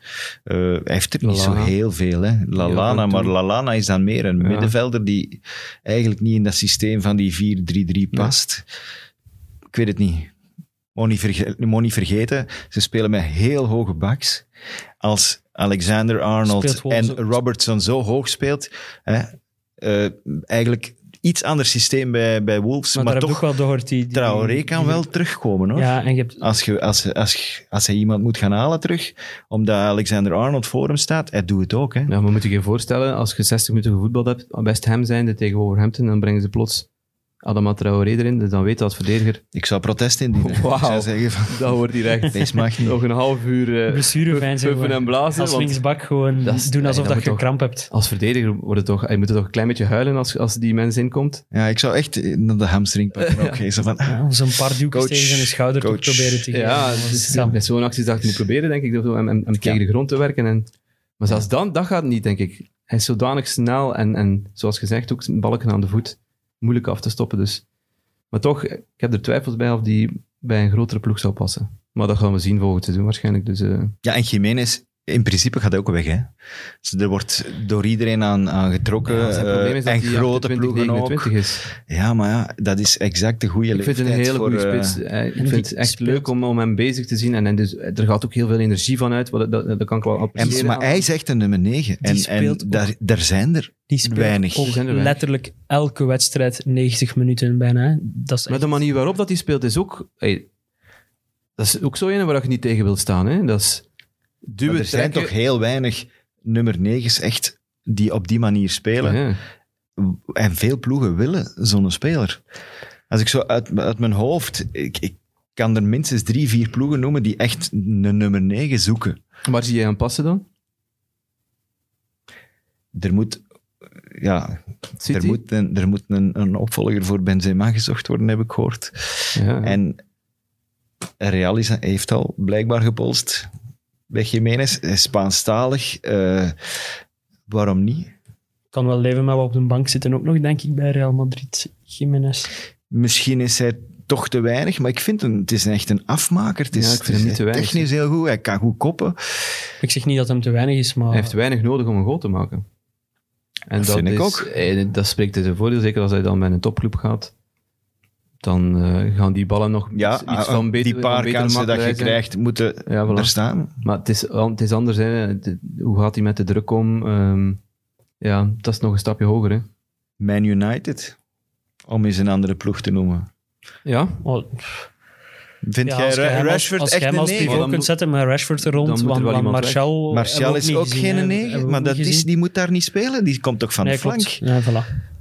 Eh, hij heeft er niet zo Lallana. heel veel. Hè? af Lalana, en toe. maar Lalana is dan meer een Ja. middenvelder die eigenlijk niet in dat systeem van die 4-3-3 past. Ik weet het niet. Moet niet, verge- moet niet vergeten, ze spelen met heel hoge backs. Als Alexander Speelt Arnold gewoon en zo- Robertson zo hoog speelt, hè, eh, eigenlijk iets ander systeem bij, bij Wolves, Maar, maar, daar heb ik ook toch wel door. Die, die- Traoré die- kan wel terugkomen hoor. Ja, en je hebt Als, je, als, je- als, je- als hij iemand moet gaan halen terug, omdat Alexander Arnold voor hem staat, hij doet het ook. Hè. Ja, maar moet je je voorstellen, als je 60 minuten gevoetbald hebt, West Ham zijnde tegen Wolverhampton, dan brengen ze plots Adama Traoré erin, dus dan weet je als verdediger, Ik zou protest indienen. Wauw. Ik zou zeggen van, dat wordt hier echt deze mag niet. nog een half uur eh blessurefijn zijn. puffen en we. blazen. Als want linksbak gewoon Dat is- doen alsof nee, dat dat je moet kramp hebt. als verdediger wordt het toch, je moet het toch een klein beetje huilen als, als die mens inkomt. Ja, ik zou echt eh, naar de hamstring pakken. Oké, zo van, ah, Ja, Om zo'n paar duwtjes Coach, tegen zijn schouder coach. te proberen te Ja, geven. het is- Ja. met zo'n actie dat je moet proberen, denk ik, dat we hem, hem, hem tegen de grond te werken. En, maar zelfs dan, dat gaat niet, denk ik. Hij is zodanig snel en, en zoals gezegd, ook zijn balken aan de voet. Moeilijk af te stoppen, dus. Maar toch, ik heb er twijfels bij of die bij een grotere ploeg zou passen. Maar dat gaan we zien volgend seizoen waarschijnlijk. Dus, eh, Ja, en Jiménez, in principe gaat hij ook weg. Hè? Dus er wordt door iedereen aan, aan getrokken. ja, zijn probleem is eh, en dat hij grote 28, ploegen ook. 29 is. Ja, maar ja, dat is exact de goede Ik vind het een hele goede spits. Eh, ik die vind het echt speelt- leuk om, om hem bezig te zien. En, en dus, eh, er gaat ook heel veel energie van uit. wat- Dat, dat, dat kan ik wel appreciëren. En, maar aan- hij is echt een nummer 9. En, en speelt ook. daar, daar zijn er Die speelt weinig. ook Zijn er weinig. letterlijk elke wedstrijd 90 minuten bijna. hè. Dat is Maar de echt- manier waarop dat hij speelt is ook... hey, dat is ook zo een waar je niet tegen wilt staan. Hè? Dat is Maar duwen, er zijn toch trekken. heel weinig nummer 9's echt die op die manier spelen. Ja. En veel ploegen willen zo'n speler. Als ik zo uit, uit mijn hoofd... Ik, ik kan er minstens drie, vier ploegen noemen die echt een nummer 9 zoeken. Waar zie jij aan passen dan? Er moet... Ja, City? er moet, een, er moet een, een opvolger voor Benzema gezocht worden, heb ik gehoord. Ja. En Real is, heeft al blijkbaar gepolst bij Jiménez. Hij is Spaanstalig. eh, waarom niet? kan wel leven met wat op de bank zitten ook nog, denk ik, bij Real Madrid. Jiménez. Misschien is hij toch te weinig, maar ik vind hem, het is echt een afmaker. Het is, Ja, ik vind hem het is niet te weinig. technisch heel goed, hij kan goed koppen. Ik zeg niet dat hem te weinig is, maar... Hij heeft weinig nodig om een goal te maken. En Dat vind ik is, ook. eh, dat spreekt in zijn voordeel. Zeker als hij dan bij een topclub gaat. Dan eh, gaan die ballen nog Ja, ah, eh, iets, iets van beter die paar van betere kansen dat je makkerij zijn. krijgt, moeten Ja, voilà. er staan. Maar het is, an- het is anders. Hè. Het- hoe gaat hij met de druk om? Ehm, ja, dat is nog een stapje hoger. Hè. Man United, om eens een andere ploeg te noemen. Ja, Oh, Vind ja, jij als Ra- jij hem als- Rashford als jij echt hem een als negen? Maar pivot dan kunt moet- zetten met Rashford er rond, moet er want, wel want iemand Martial... Martial hebben we is ook niet gezien, geen hè. negen, Hebben we maar ook dat niet is, gezien. die moet daar niet spelen. Die komt toch van Nee, de flank? klopt. Ja, voilà.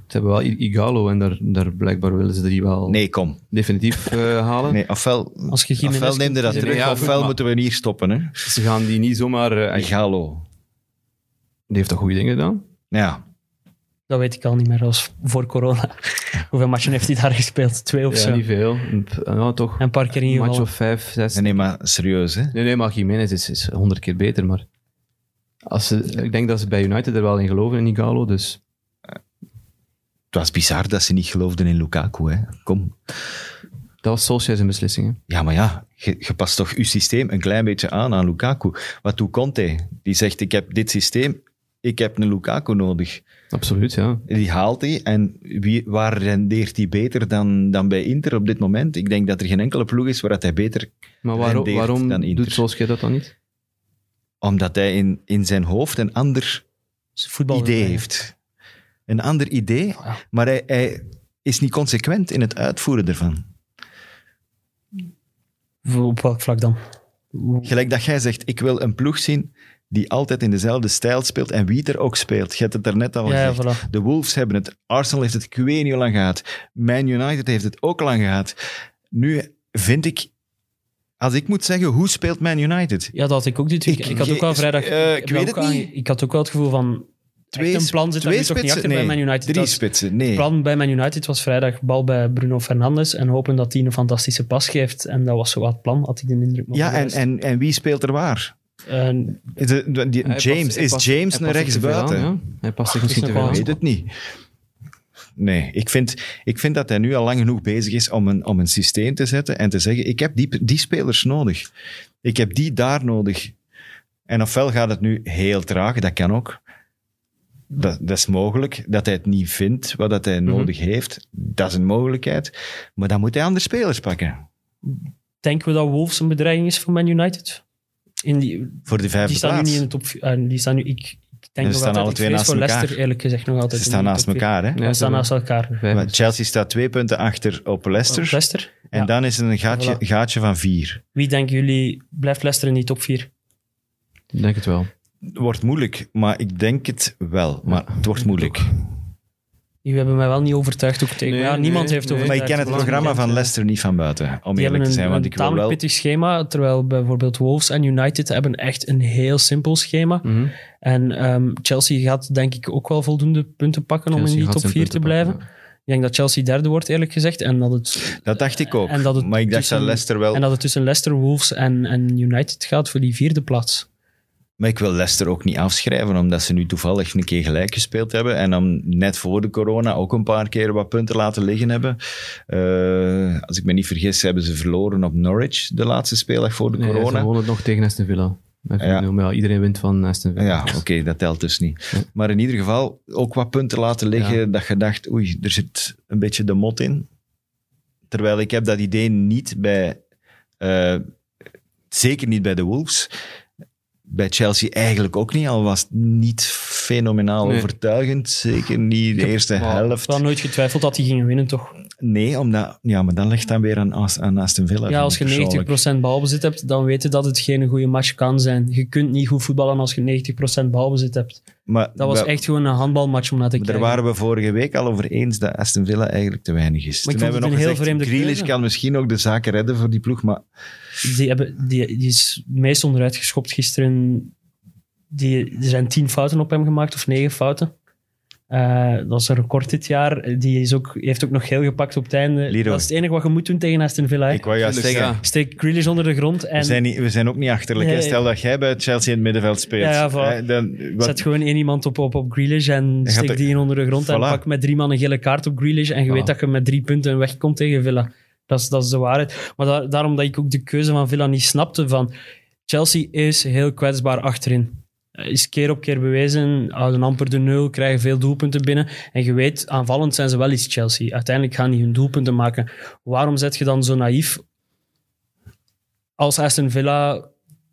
Ze hebben wel I- Igalo en daar, daar blijkbaar willen ze die wel Nee, kom. definitief eh, halen. Nee, ofwel, Als je Jiménez ofwel neem je dat kunt- terug, Ja, goed, ofwel maar- moeten we hier stoppen. Hè. Ze gaan die niet zomaar... eh, Igalo. Die heeft toch goede dingen gedaan? Ja. Dat weet ik al niet meer, als voor corona. Hoeveel matchen heeft hij daar gespeeld? Twee of ja, zo. niet veel. En, p- nou, toch En een paar keer in een ieder match geval. of vijf, zes. Nee, maar serieus, hè? Nee, nee, maar Jiménez is- is honderd keer beter, maar... Als ze, ik denk dat ze bij United er wel in geloven, in Igalo, dus... Het was bizar dat ze niet geloofden in Lukaku, hè? Kom. Dat was Solskjaer zijn beslissing. hè. Ja, maar ja, je, je past toch je systeem een klein beetje aan aan Lukaku. Wat doet Conte? Die zegt, ik heb dit systeem, ik heb een Lukaku nodig. Absoluut, ja. Die haalt hij. En wie, waar rendeert hij beter dan, dan bij Inter op dit moment? Ik denk dat er geen enkele ploeg is waar dat hij beter... Maar waarom, Rendeert dan waarom Inter. doet Solskjaer dat dan niet? Omdat hij in, in zijn hoofd een ander Voetbal idee heeft. Een ander idee, Ah, maar hij, hij is niet consequent in het uitvoeren ervan. Op welk vlak dan? Gelijk dat jij zegt, ik wil een ploeg zien die altijd in dezelfde stijl speelt en wie er ook speelt. Je hebt het daarnet al Ja, ja, gezegd. voilà. De Wolves hebben het, Arsenal heeft het, ik weet niet hoe lang gehad. Man United heeft het ook lang gehad. Nu vind ik, als ik moet zeggen, hoe speelt Man United? Ja, dat had ik ook dit weekend. Ik- Ik, had ook wel ik- vrijdag... eh, ik heb mij weet ook het aan- niet. Ik had ook wel het gevoel van... Twee, een plan zit daar nu toch niet achter bij Man United. Drie Dat- spitsen, nee. Het plan bij Man United was vrijdag bal bij Bruno Fernandes en hopen dat hij een fantastische pas geeft. En dat was zo wat het plan, had ik de indruk. maar Eh, Ja, voor de en, rest- en, en wie speelt er waar? en Is de- de- die- Hij James, past- hij is past- James hij een past zich te veel rechtsbuiten? aan, ja. Hij past zich Dat is misschien te nog veel wel Ik aan. weet het niet. Nee, ik vind, ik vind dat hij nu al lang genoeg bezig is om een, om een systeem te zetten en te zeggen, ik heb die, die spelers nodig. Ik heb die daar nodig. En ofwel gaat het nu heel traag, dat kan ook. Dat, dat is mogelijk, dat hij het niet vindt wat dat hij Mhm. nodig heeft. Dat is een mogelijkheid. Maar dan moet hij andere spelers pakken. denken we dat Wolves een bedreiging is voor Man United? In die, Voor de vijfde die staan nu plaats. niet in de top... eh, die staan nu... Ik, ik ze denk nog staan altijd, alle ik twee vrees naast voor elkaar. Leicester, eerlijk gezegd, nog altijd. Ze in staan de naast top vier. elkaar. Hè? Ja, Ze staan zo- naast elkaar. Eh, vijf. Want Chelsea staat twee punten achter op Leicester. Leicester. En ja. dan is het een gaatje, Voilà. gaatje van vier. Wie denken jullie, blijft Leicester in die top 4? Ik denk het wel. Wordt moeilijk, maar ik denk het wel. Maar het wordt moeilijk. Jullie hebben mij wel niet overtuigd ook tegen. Nee, ja, niemand nee, heeft nee. Maar overtuigd. ik ken het programma van Leicester niet van buiten, om eerlijk Die hebben te een, zijn. Want een ik wil tamelijk wel... pittig schema, terwijl bijvoorbeeld Wolves en United hebben echt een heel simpel schema. Mhm. En ehm, Chelsea gaat denk ik ook wel voldoende punten pakken om in Chelsea die gaat top zijn 4 te punten blijven. pakken, Ik denk dat Chelsea derde wordt, eerlijk gezegd. En dat het, Dat dacht ik ook. En dat het maar ik dacht tussen- dat Leicester wel... en dat het tussen Leicester, Wolves en, en United gaat voor die vierde plaats. Maar ik wil Leicester ook niet afschrijven, omdat ze nu toevallig een keer gelijk gespeeld hebben. En dan net voor de corona ook een paar keer wat punten laten liggen hebben. Eh, als ik me niet vergis, hebben ze verloren op Norwich de laatste speeldag voor de Nee, corona. Ze wonnen nog tegen Aston Villa. Met Ja. 4-0, maar ja, iedereen wint van Aston Villa. Ja, oké, dat telt dus niet. Maar in ieder geval ook wat punten laten liggen Ja. dat je dacht, oei, er zit een beetje de mot in. Terwijl ik heb dat idee niet bij, eh, zeker niet bij de Wolves. Bij Chelsea eigenlijk ook niet, al was het niet fenomenaal Nee. overtuigend. Zeker niet de eerste wel- Ik helft. heb wel nooit getwijfeld dat die gingen winnen, toch? Nee, omdat, ja, maar dan ligt dan weer aan, As- aan Aston Villa. Ja, vind als ik je persoonlijk. 90% balbezit hebt, dan weten dat het geen goede match kan zijn. Je kunt niet goed voetballen als je 90% balbezit hebt. Maar Dat was we- echt gewoon een handbalmatch om naar te Maar kijken. daar waren we vorige week al over eens dat Aston Villa eigenlijk te weinig is. Maar ik Toen vond hebben we nog het een heel gezegd, vreemde Grealish keuze. kan misschien ook de zaken redden voor die ploeg, maar Die, hebben, die, die is meest onderuit geschopt gisteren. Die, er zijn tien fouten op hem gemaakt, of negen fouten. Eh, dat is een record dit jaar. Die is ook, heeft ook nog geel gepakt op het einde. Leroy. Dat is het enige wat je moet doen tegen Aston Villa. hè. ik wou juist Tuurlijk, zeggen, ja. Steek Grealish onder de grond en we, zijn niet, we zijn ook niet achterlijk. hè. Nee. Stel dat jij bij Chelsea in het middenveld speelt. Ja, ja, voilà. hè, dan, wat- zet gewoon één iemand op, op, op Grealish en gaat steek er- die in onder de grond en Voilà. pak met drie man een gele kaart op Grealish en je Voilà. weet dat je met drie punten wegkomt tegen Villa. Dat is, dat is de waarheid. Maar da- daarom dat ik ook de keuze van Villa niet snapte van Chelsea is heel kwetsbaar achterin. Eh, Is keer op keer bewezen, houden amper de nul, krijgen veel doelpunten binnen. En je weet, aanvallend zijn ze wel iets Chelsea. Uiteindelijk gaan die hun doelpunten maken. Waarom zet je dan zo naïef als Aston Villa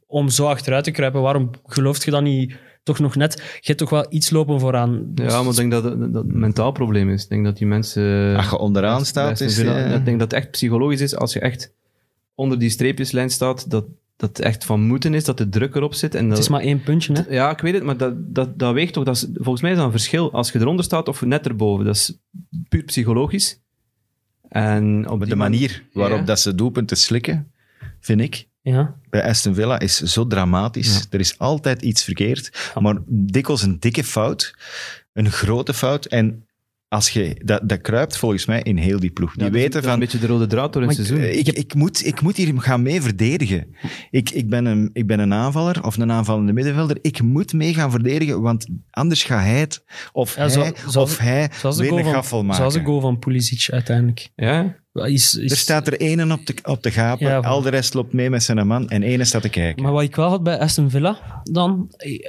om zo achteruit te kruipen? Waarom gelooft je dan niet toch nog net? Je hebt toch wel iets lopen vooraan. Dus Ja, Dus- maar ik denk dat dat dat een mentaal probleem is. Ik denk dat die mensen... eh, als je onderaan staat, Aston is... Villa- eh, Ik denk dat het echt psychologisch is. Als je echt onder die streepjeslijn staat, dat dat het echt van moeten is, dat de druk erop zit. En dat, Het is maar één puntje, hè? Ja, ik weet het, maar dat, dat, dat weegt toch. Dat is, volgens mij is dat een verschil als je eronder staat of net erboven. Dat is puur psychologisch. En op met die de manier waarop Ja. dat ze doelpunten slikken, vind ik. Ja. bij Aston Villa is zo dramatisch. Ja. Er is altijd iets verkeerd. Maar dikwijls een dikke fout. Een grote fout. En als je, dat, dat kruipt volgens mij in heel die ploeg. Die Ja, dat is- dat weten is van... Een beetje de rode draad door hun Maar ik- seizoen. Ik, ik, moet, ik moet hier gaan mee verdedigen. Ik, ik, ben een, ik ben een aanvaller of een aanvallende middenvelder. Ik moet mee gaan verdedigen, want anders gaat hij het of Ja, zo- hij, zoals- of hij Zoals de, weer goal een van, gaffel maken. zoals de goal van Pulisic uiteindelijk. eh, Ja? Is, is, Er staat er één op te, op te gapen, Ja, van- al de rest loopt mee met zijn man en één staat te kijken. Maar wat ik wel had bij Aston Villa dan, eh,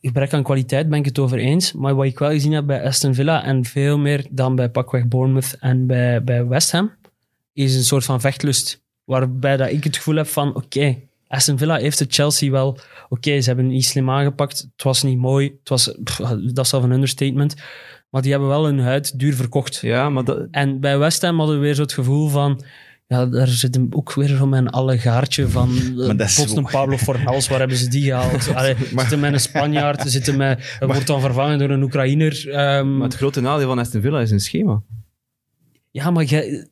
gebrek aan kwaliteit ben ik het over eens, maar wat ik wel gezien heb bij Aston Villa en veel meer dan bij pakweg Bournemouth en bij, bij West Ham, is een soort van vechtlust. Waarbij dat ik het gevoel heb van, oké, Aston Villa heeft het Chelsea wel... Oké, ze hebben het niet slim aangepakt. Het was niet mooi. Het was, pff, dat is zelf een understatement. Maar die hebben wel hun huid duur verkocht. ja, maar dat, En bij West Ham hadden we weer zo het gevoel van... Ja, daar zit hem ook weer van mijn allegaartje van... dat eh, is Boston wel- Pablo Fornals, waar hebben ze die gehaald? Allee, zitten met een Spanjaard, zitten met, hij wordt dan vervangen door een Oekraïner. ehm, maar het grote nadeel van Aston Villa is hun schema. ja, maar jij...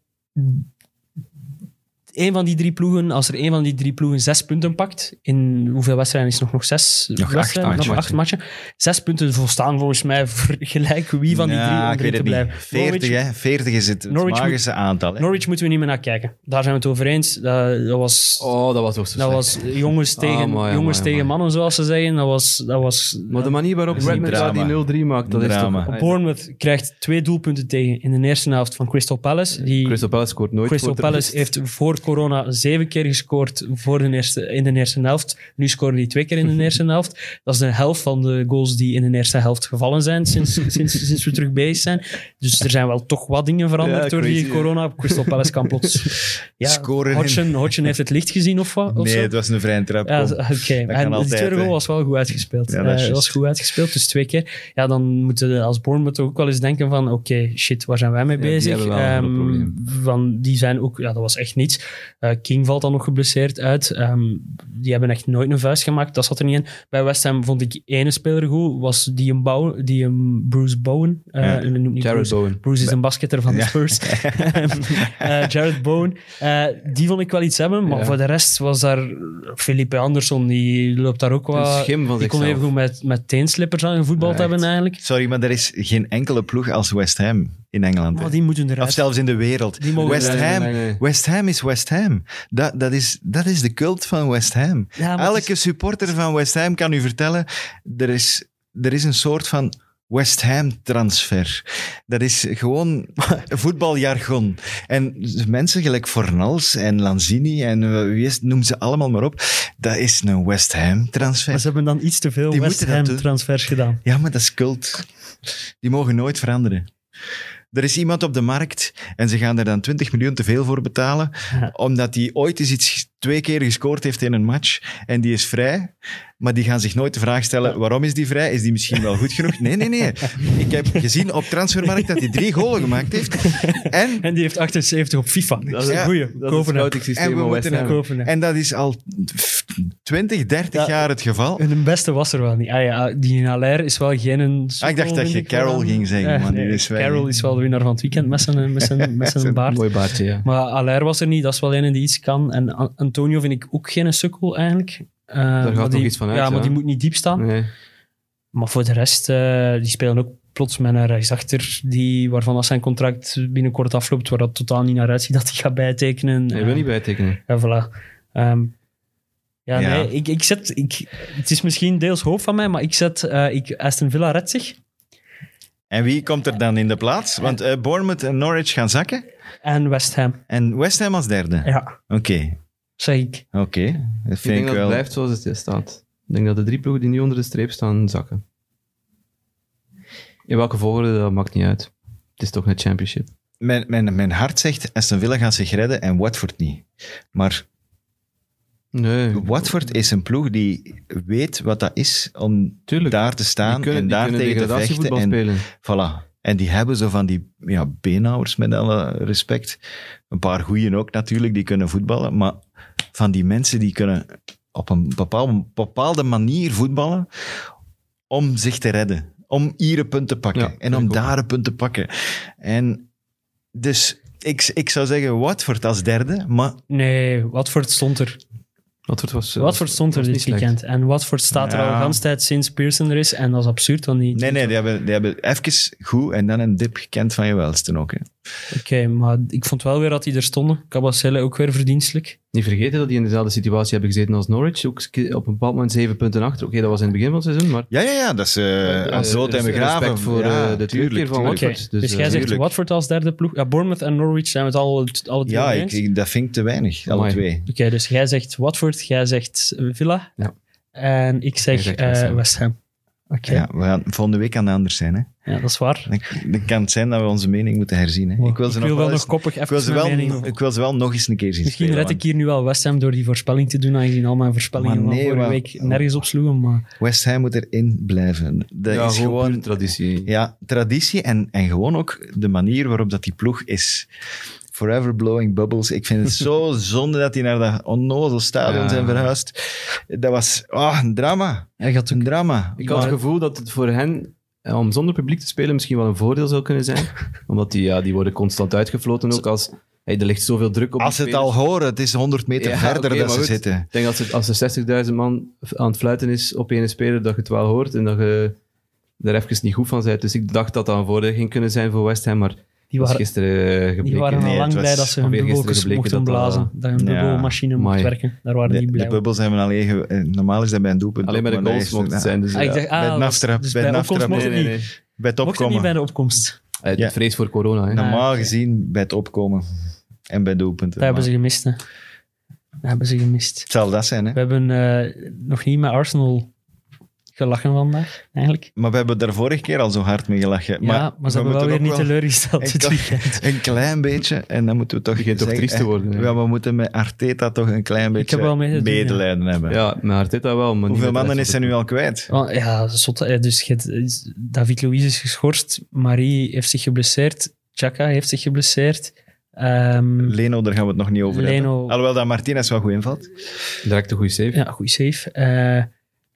Een van die drie ploegen, als er een van die drie ploegen zes punten pakt, in hoeveel wedstrijden is het nog? Nog zes acht wedstrijden? matchen. nog acht matchen. Zes punten volstaan volgens mij voor gelijk wie van die Ja, drie om Nou, ik weet drie te het niet. blijven. 40, Norwich- hè? 40 is het, het Norwich moet- magische aantal. Hè? Norwich moeten we niet meer naar kijken. Daar zijn we het over eens. Dat, dat was... Oh, dat was toch zo Dat was jongens tegen, amai, jongens amai, amai. tegen mannen, zoals ze zeggen. Dat was... Dat was Maar de manier waarop Dat is niet Redmond daar drama. die 0-3 maakt, dat is Drama. toch... Bournemouth krijgt twee doelpunten tegen in de eerste helft van Crystal Palace. Die Crystal Palace scoort nooit. Crystal voor de Palace rust. heeft voor corona zeven keer gescoord voor de eerste, in de eerste helft. Nu scoren die twee keer in Mhm. de eerste helft. Dat is de helft van de goals die in de eerste helft gevallen zijn sinds, sinds, sinds we terug bezig zijn. Dus er zijn wel toch wat dingen veranderd Ja, door die crazy, hè? corona. Crystal Palace kan plots... Ja, Scoren in- Hodgson, Hodgson heeft het licht gezien of wat? Of Nee, zo? het was een vrije trap. Ja, kom. z- oké. En de altijd, tweede goal hè. was wel goed uitgespeeld. Ja, Ja, dat is juist. was goed uitgespeeld, dus twee keer. Ja, dan moeten we als Bournemouth ook wel eens denken van, oké, shit, waar zijn wij mee Ja, die bezig? hebben wel een groot Ehm, probleem. van, die zijn ook, ja, dat was echt niets. Eh, King valt dan nog geblesseerd uit. Ehm, die hebben echt nooit een vuist gemaakt, dat zat er niet in. Bij West Ham vond ik ene speler goed, was die een, Bow- die een Bruce Bowen. Eh, Ja. noem niet Jared Bruce. Bowen. Bruce is een basketter van de Spurs. Eh, Jared Bowen. eh, die vond ik wel iets hebben, maar Ja. voor de rest was daar Felipe Anderson, die loopt daar ook Een wel... schim van Die kon zichzelf. even goed met, met teenslippers aan gevoetbald Ja, echt. hebben eigenlijk. Sorry, maar er is geen enkele ploeg als West Ham in Engeland. hè. Maar die moeten Of eruit. zelfs in de wereld. Die mogen- West, Nee, nee, Ham, nee, nee. West Ham is West Ham. Dat, dat, is, dat is de cult van West Ham. Ja, maar het Elke supporter van West Ham kan u vertellen, er is, er is een soort van West Ham-transfer. Dat is gewoon voetbaljargon. En mensen gelijk Fornals en Lanzini en eh, wie is, het, noem ze allemaal maar op, dat is een West Maar Ham-transfer. ze hebben dan iets te veel Die West moeten dat Ham doen. transfers gedaan. Ja, maar dat is cult. Die mogen nooit veranderen. Er is iemand op de markt en ze gaan er dan 20 miljoen te veel voor betalen, Ja. omdat die ooit eens iets twee keer gescoord heeft in een match en die is vrij, maar die gaan zich nooit de vraag stellen, waarom is die vrij? Is die misschien wel goed genoeg? Nee, nee, nee. Ik heb gezien op Transfermarkt dat hij drie golen gemaakt heeft en, En die heeft 78 op FIFA. Dat is Ja, een goeie. Dat is het Kopen hem. scouting En systeem we van West moeten Ham. Kopen hem. en dat is al 20, 30 Ja. jaar het geval. En de beste was er wel niet. Ah ja, die Haller is wel geen... een Ah, ik dacht dat vind je ik wel Carroll aan- ging zeggen, Ja, maar die nee, is wel- Carroll is wel de winnaar van het weekend met zijn, met zijn, met zijn baard. Mooi baardje, ja. Maar Allaire was er niet, dat is wel een die iets kan. En A- Antonio vind ik ook geen sukkel eigenlijk. Eh, maar gaat die, nog iets van uit, Ja, maar ja. die moet niet diep staan. Nee. Maar voor de rest, eh, die spelen ook plots met een rechtsachter die, waarvan dat zijn contract binnenkort afloopt, waar dat totaal niet naar uitziet dat hij gaat bijtekenen. Hij wil niet bijtekenen. Ja, voilà. Ehm, ja, Ja. nee, ik, ik zet... Ik, het is misschien deels hoop van mij, maar ik zet... eh, ik, Aston Villa redt zich. En wie komt er dan in de plaats? Want eh, Bournemouth en Norwich gaan zakken En West Ham. en West Ham als derde. Ja, Oké, zeg ik. oké. Dat Ik vind denk ik, dat het wel. blijft zoals het staat. Ik denk dat de drie ploegen die nu onder de streep staan, zakken. In welke volgorde, dat maakt niet uit. Het is toch een championship. Mijn, mijn, mijn hart zegt, Aston Villa gaat zich redden en Watford niet. Maar Nee, Watford is een ploeg die weet wat dat is om tuurlijk. daar te staan die kunnen, en die daar kunnen tegen te vechten. degradatievoetbal En, spelen. voilà. en die hebben zo van die ja, beenhouwers, met alle respect. Een paar goeien ook natuurlijk, die kunnen voetballen. Maar van die mensen die kunnen op een bepaalde, bepaalde manier voetballen om zich te redden. Om hier een punt te pakken Ja, en om ik ook. daar een punt te pakken. En dus ik, ik zou zeggen Watford als derde, maar Nee, Watford stond er. Watford was... eh, Watford stond er was dit niet slecht. weekend. En Watford staat er Ja. al de hele tijd sinds Pearson er is. En dat is absurd, want die... Nee, nee, die hebben, die hebben even goed en dan een dip gekend van je welste ook. Hè. Oké, maar ik vond wel weer dat die er stonden. Cabasele ook weer verdienstelijk. Niet vergeten dat die in dezelfde situatie hebben gezeten als Norwich. Ook ske- op een bepaald moment zeven punten achter. Oké, dat was in het begin van het seizoen, maar... Ja, ja, ja, dat is eh Eh, aan dood en respect begraven. voor, ja, eh, de tuurlijk, terugkeer van tuurlijk. Oké, Watford. dus, dus, eh, jij zegt tuurlijk. Watford als derde ploeg. Ja, Bournemouth en Norwich zijn we het al, alle drie Ja, mee ik, eens. ik- dat vind ik te weinig, alle Amai. twee. Oké, dus jij zegt Watford, jij zegt eh, Villa. Ja. En ik zeg zegt eh, West West Ham. Ham. Oké, Ja, we gaan, volgende week kan het anders zijn. Hè. ja, dat is waar. Dan, dan kan het zijn dat we onze mening moeten herzien. Hè. Ik wil ze nog wel wel eens- nog koppig ik wil even ze mijn mening wel- doen. ik wil ze wel nog eens een keer zien Misschien spelen, red ik hier nu wel West Ham door die voorspelling te doen, aangezien al mijn voorspellingen Maar nee, van vorige maar- week nergens opsloegen. Maar want West Ham moet erin blijven. Dat ja, is gewoon puur traditie. Ja, traditie en, en gewoon ook de manier waarop dat die ploeg is. Forever blowing bubbles. Ik vind het zo zonde dat die naar dat onnozel stadion Ja. zijn verhuisd. Dat was ah, een drama. hij gaat Een drama. Ik had het gevoel dat het voor hen, eh, om zonder publiek te spelen, misschien wel een voordeel zou kunnen zijn. Omdat die, ja, die worden constant uitgefloten ook als... Hey, er ligt zoveel druk op Als de ze het spelers. al horen, het is 100 meter Ja, verder oké, dat maar ze goed. zitten. Ik denk dat als er 60.000 man aan het fluiten is op ene speler, dat je het wel hoort en dat je daar even niet goed van bent. Dus ik dacht dat dat een voordeel ging kunnen zijn voor West Ham, maar Die dat is waren, gisteren eh, die gebleken. waren Nee, al lang het was blij dat ze hun alweer gisteren bubbelkens gebleken mochten dat dat- blazen. Dat hun eh, Ja. bubbelmachine mocht Amai. werken. Daar waren De, die de blij om. bubbels hebben alleen... ge- eh, Normaal is dat bij een doelpunt. Alleen bij ook, de maar goals dat is- mocht het zijn. Dus, Ah, ik ja. dacht, ah, Bij dat het was- aftrap. dus bij het bij opkomst aftrap. mocht Nee, het nee, niet. nee. Bij het Mocht het niet bij opkomen. de opkomst. Uit Ja. vrees voor corona. Hè. Ja. Normaal Ah, oké. gezien bij het opkomen. En bij doelpunten. Dat hebben ze Maar gemist, hè. Dat hebben ze gemist. Het zal dat zijn, hè. We hebben eh, nog niet met Arsenal gelachen vandaag, eigenlijk. Maar we hebben daar vorige keer al zo hard mee gelachen. ja, maar, we ze hebben wel moeten weer ook niet teleurgesteld Ik dit kan- weekend. Een klein beetje, en dan moeten we toch... Het begint toch zeggen, triest te worden, hè? Ja, we moeten met Arteta toch een klein beetje heb wel mee te doen, medelijden hebben. Ja, maar Arteta wel. Maar Hoeveel mannen is er hij nu al kwijt? Oh, ja, zot. hè. Dus je hebt- David Luiz is geschorst, Marie heeft zich geblesseerd, Chaka heeft zich geblesseerd. Ehm, Leno, daar gaan we het nog niet over Leno- hebben. Alhoewel dat Martinez wel goed invalt. Direct een goede save. ja, goeie save. Eh,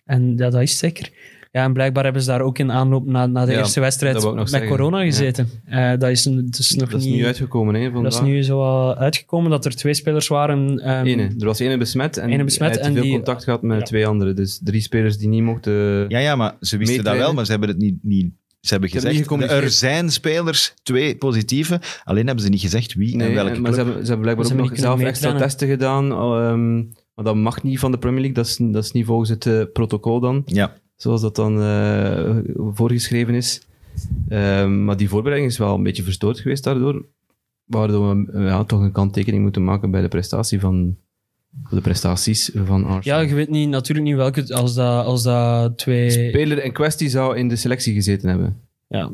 en ja, dat is zeker. Ja, en blijkbaar hebben ze daar ook in aanloop na, na de Ja, eerste dat wedstrijd wou ik met nog zeggen. corona Ja. gezeten. Eh, dat is een- dus nog dat is niet... nu uitgekomen. Hè, dat vandaag. is nu zo wat uitgekomen dat er twee spelers waren. ehm, Ene. Er was ene besmet en Ene besmet hij heeft en veel die- contact gehad met Ja. twee anderen. Dus drie spelers die niet mochten... eh, Ja, ja, maar ze wisten dat Meetrainen. wel, maar ze hebben het niet... niet ze hebben Ze hebben gezegd, niet er gecommuniceerd. zijn spelers, twee positieve. Alleen hebben ze niet gezegd wie en Nee, welke en- maar club. ze hebben, ze hebben blijkbaar Ze ook hebben nog niet kunnen zelf extra meetrainen. testen gedaan. ehm, maar dat mag niet van de Premier League. Dat is, dat is niet volgens het eh, protocol dan, Ja, zoals dat dan eh, voorgeschreven is. Ehm, maar die voorbereiding is wel een beetje verstoord geweest daardoor. Waardoor we eh, ja, toch een kanttekening moeten maken bij de prestatie van... voor De prestaties van Ja, Arsenal. je weet niet, natuurlijk niet welke, als dat, als dat twee... Speler in kwestie zou in de selectie gezeten hebben. Ja,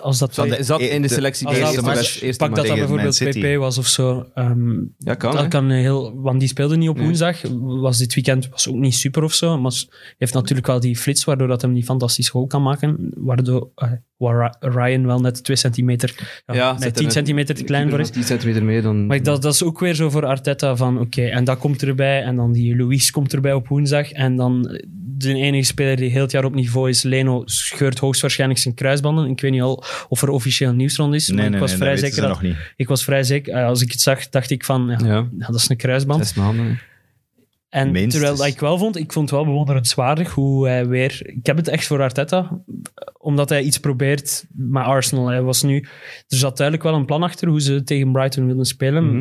als dat Zat, twee... zat in de de- selectie als bij de dat- eerste als- match. eerste Pak dat match. dat tegen bijvoorbeeld Man City. PP was of zo. ehm, Ja, kan. hè. dat kan heel... Want die speelde niet op Nee. woensdag. Was dit weekend was ook niet super of zo. Maar s- heeft natuurlijk wel die flits, waardoor dat hem die fantastisch goal kan maken. Waardoor eh, waar Ra- Ryan wel net 2 centimeter... Ja, Ja, zet nee, er 10 een- centimeter te klein voor Keeper is. was 10 centimeter meer dan... Maar ik- dat, dat is ook weer zo voor Arteta van, oké, en dat komt erbij, en dan die Luis komt erbij op woensdag, en dan de enige speler die heel het jaar op niveau is, Leno, scheurt hoogstwaarschijnlijk zijn kruisbanden. Ik weet niet al of er officieel nieuws rond is, nee, maar nee, ik, was nee, vrij dat weten zeker ze dat, nog niet. ik was vrij zeker, eh, als ik het zag, dacht ik van, ja, Ja, ja, dat is een kruisband. zes maanden. hè. En Minstens. terwijl dat ik wel vond, ik vond het wel bewonderenswaardig hoe hij weer... Ik heb het echt voor Arteta, omdat hij iets probeert met Arsenal. Hij was nu... Er zat duidelijk wel een plan achter hoe ze tegen Brighton wilden spelen.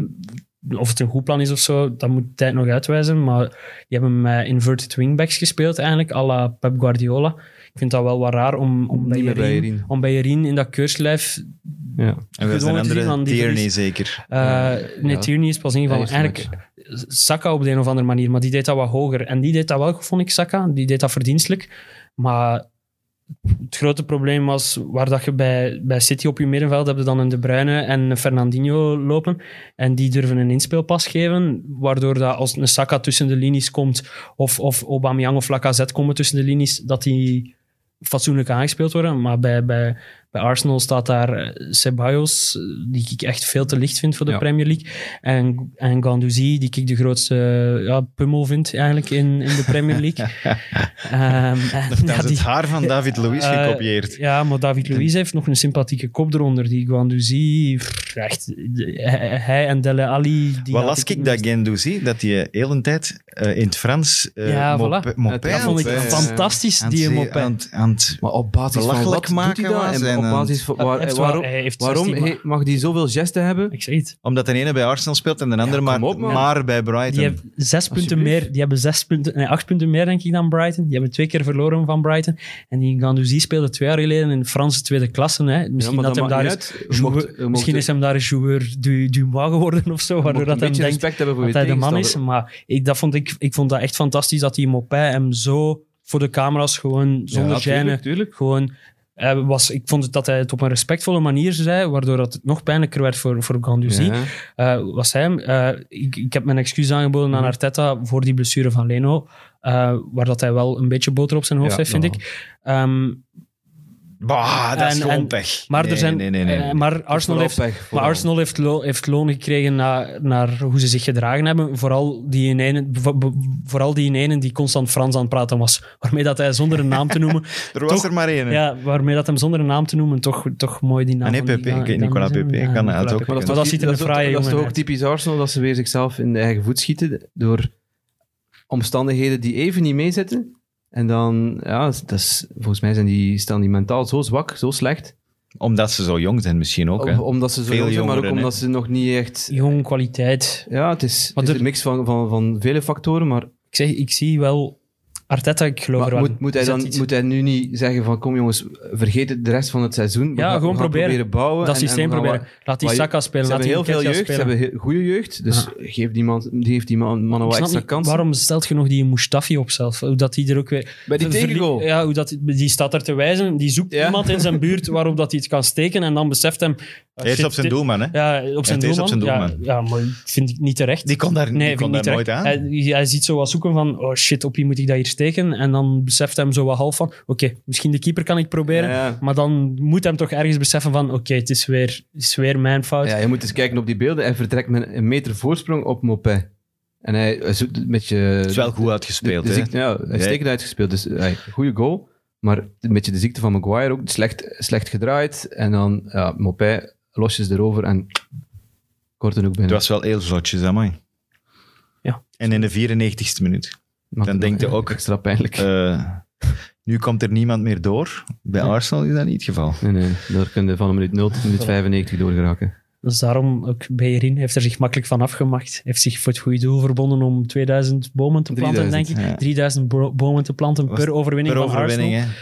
Mhm. Of het een goed plan is of zo, dat moet de tijd nog uitwijzen. Maar die hebben met inverted wingbacks gespeeld eigenlijk, à la Pep Guardiola. Ik vind dat wel wat raar om, om, bij, Niet meer bij Yerine, Yerine. om bij Yerine in dat keurslijf... Ja. En we zijn Gewoon te zien andere aan die Tierney verlies. zeker. eh Ja, nee, ja. Tierney is pas ingevallen. Ja, eerste eigenlijk Saka op de een of andere manier, maar die deed dat wat hoger. En die deed dat wel, goed, vond ik, Saka. Die deed dat verdienstelijk. Maar het grote probleem was waar dat je bij, bij City op je middenveld hebt dan een De Bruyne en een Fernandinho lopen. En die durven een inspeelpas geven, waardoor dat als een Saka tussen de linies komt of, of Aubameyang of Lacazette komen tussen de linies, dat die fatsoenlijk aangespeeld worden. Maar bij, bij, bij Bij Arsenal staat daar eh, Ceballos, eh, die ik echt veel te licht vind voor de Ja. Premier League. En, en Guendouzi, die ik de grootste eh, ja, pummel vind eigenlijk in, in de Premier League. Ehm, en Dat ja, is die- het haar van David Luiz eh, gekopieerd. ja, maar David Luiz heeft nog een sympathieke kop eronder. Die Guendouzi, pff, echt, de- hij- hij en Dele Ali... Die Wat had las ik dat Gendouzi, dat die eh, heel een tijd eh, in het Frans eh Ja, mop- voilà. mopij Dat Dat aan vond ik het- eh, fantastisch, aan het die zee- hem op... aan het- aan het- Maar op basis van Belachelijk wat doet hij maken was dat? En en op aan- basis van waar, eh, Hij heeft wel- waarom, hij heeft waarom 16 he- mag hij zoveel gesten hebben? Ik zeg het. Omdat de ene bij Arsenal speelt en de andere maar, kom op, man. maar bij Brighton. Die hebben zes punten Alsjeblieft. meer. Die hebben zes punten, nee, acht punten meer, denk ik, dan Brighton. Die hebben twee keer verloren van Brighton. En die Gandouzi speelde twee jaar geleden in de Franse tweede klasse. Hè. Misschien, Ja, maar dat hem maakt daar niet is, uit. Je mocht- je mocht- misschien is hem daar een joueur du, du mois geworden of zo. je Waardoor mocht dat een hem beetje denkt respect hebben voor dat hij je de man is. tegenstander. Maar ik, dat vond ik, ik vond dat echt fantastisch dat die Mopé hem zo voor de camera's gewoon zonder Ja, gêne tuurlijk, tuurlijk. Gewoon, hij was, ik vond het dat hij het op een respectvolle manier zei, waardoor dat het nog pijnlijker werd voor, voor Guendouzi. Ja. Eh, was hij hem? Eh, ik, ik heb mijn excuus aangeboden Mhm. aan Arteta voor die blessure van Leno, eh, waar dat hij wel een beetje boter op zijn hoofd Ja, heeft, vind ja. ik. Ehm, Bah, dat is En- gewoon en- pech. maar, Nee, er zijn, nee, nee, nee, eh, nee. maar Arsenal Vooral heeft... pech, Maar vooral. Arsenal heeft, lo- heeft loon gekregen naar, naar hoe ze zich gedragen hebben. Vooral die in ene, vo- bo- vooral die in ene die constant Frans aan het praten was. Waarmee dat hij zonder een naam te noemen er was toch- er maar één. Ja, waarmee dat hem zonder een naam te noemen toch, toch mooi die naam... Ah, nee, van die Pepe. gaan- Ik weet, gaan Nicolas zijn. Pepe Ja, kan Nicolas dat ook Pepe. kunnen. Maar dat ziet er een is toch- Dat fraaie is jongen toch ook uit. typisch Arsenal, dat ze weer zichzelf in de eigen voet schieten door omstandigheden die even niet meezitten. En dan, ja, dat is, volgens mij zijn die, staan die mentaal zo zwak, zo slecht. Omdat ze zo jong zijn misschien ook. Hè. Om- omdat ze zo Veel jong zijn, maar ook jongeren, omdat ze nog niet echt... Jong kwaliteit. Ja, het is, het Maar is er- een mix van, van, van vele factoren, maar, Ik, zeg, ik zie wel... Arteta, ik geloof maar er wel moet, in. moet, hij Zet dan, iets- moet hij nu niet zeggen van kom jongens, vergeet het de rest van het seizoen. we Ja, gaan- we gewoon gaan proberen. bouwen. dat en- en we systeem gaan proberen. wat- Laat die wat- Saka spelen, Ze laat hebben heel die veel Nketiah jeugd, ze spelen. hebben heel- goede jeugd, dus geef die man, geef die man, mannen Ik wat snap extra niet, kansen. waarom stelt je nog die Mustafi op zelf? Hoe dat die er ook weer... Bij die Ver- verlie- tegengoal. Ja, hoe dat, die staat er te wijzen. Die zoekt Ja. iemand in zijn buurt waarop dat hij het kan steken en dan beseft hem... ah, Eerst shit, op zijn dit- doelman, hè. Ja, op zijn eerst doelman. op zijn Ja, doelman. ja, maar vind ik niet terecht. Die kon daar, Nee, die vind kon ik niet daar terecht. nooit aan. Hij, hij ziet zo wat zoeken van, oh shit, op wie moet ik dat hier steken? En dan beseft hem zo wat half van, oké, misschien de keeper kan ik proberen. Ja. Maar dan moet hem toch ergens beseffen van, oké, het, is weer, het is weer mijn fout. Ja, je moet eens kijken op die beelden. Hij vertrekt met een meter voorsprong op Mopé. En hij hij zoekt het met je... Het is wel goed uitgespeeld, de, de hè. ziekte, ja, hij is Ja. stekend uitgespeeld. Dus hey, goede goal. Maar met je de ziekte van Maguire ook slecht, slecht gedraaid. En dan ja, Mopé losjes erover en kort en ook Het binnen. was wel heel zotjes, amai. Ja. En in de 94ste minuut. Maakt dan het denk nog je ook- Extra pijnlijk. eh, nu komt er niemand meer door. Bij Arsenal is dat niet het geval. nee, nee. Daar kun je van een minuut 0 tot minuut 95 door geraken. Dus daarom ook Bejerin heeft er zich makkelijk van afgemaakt. Heeft zich voor het goede doel verbonden om 2000 bomen te planten, 3000, denk ik. ja. 3000 bo- bomen te planten Was per overwinning Per van overwinning, Arsenal.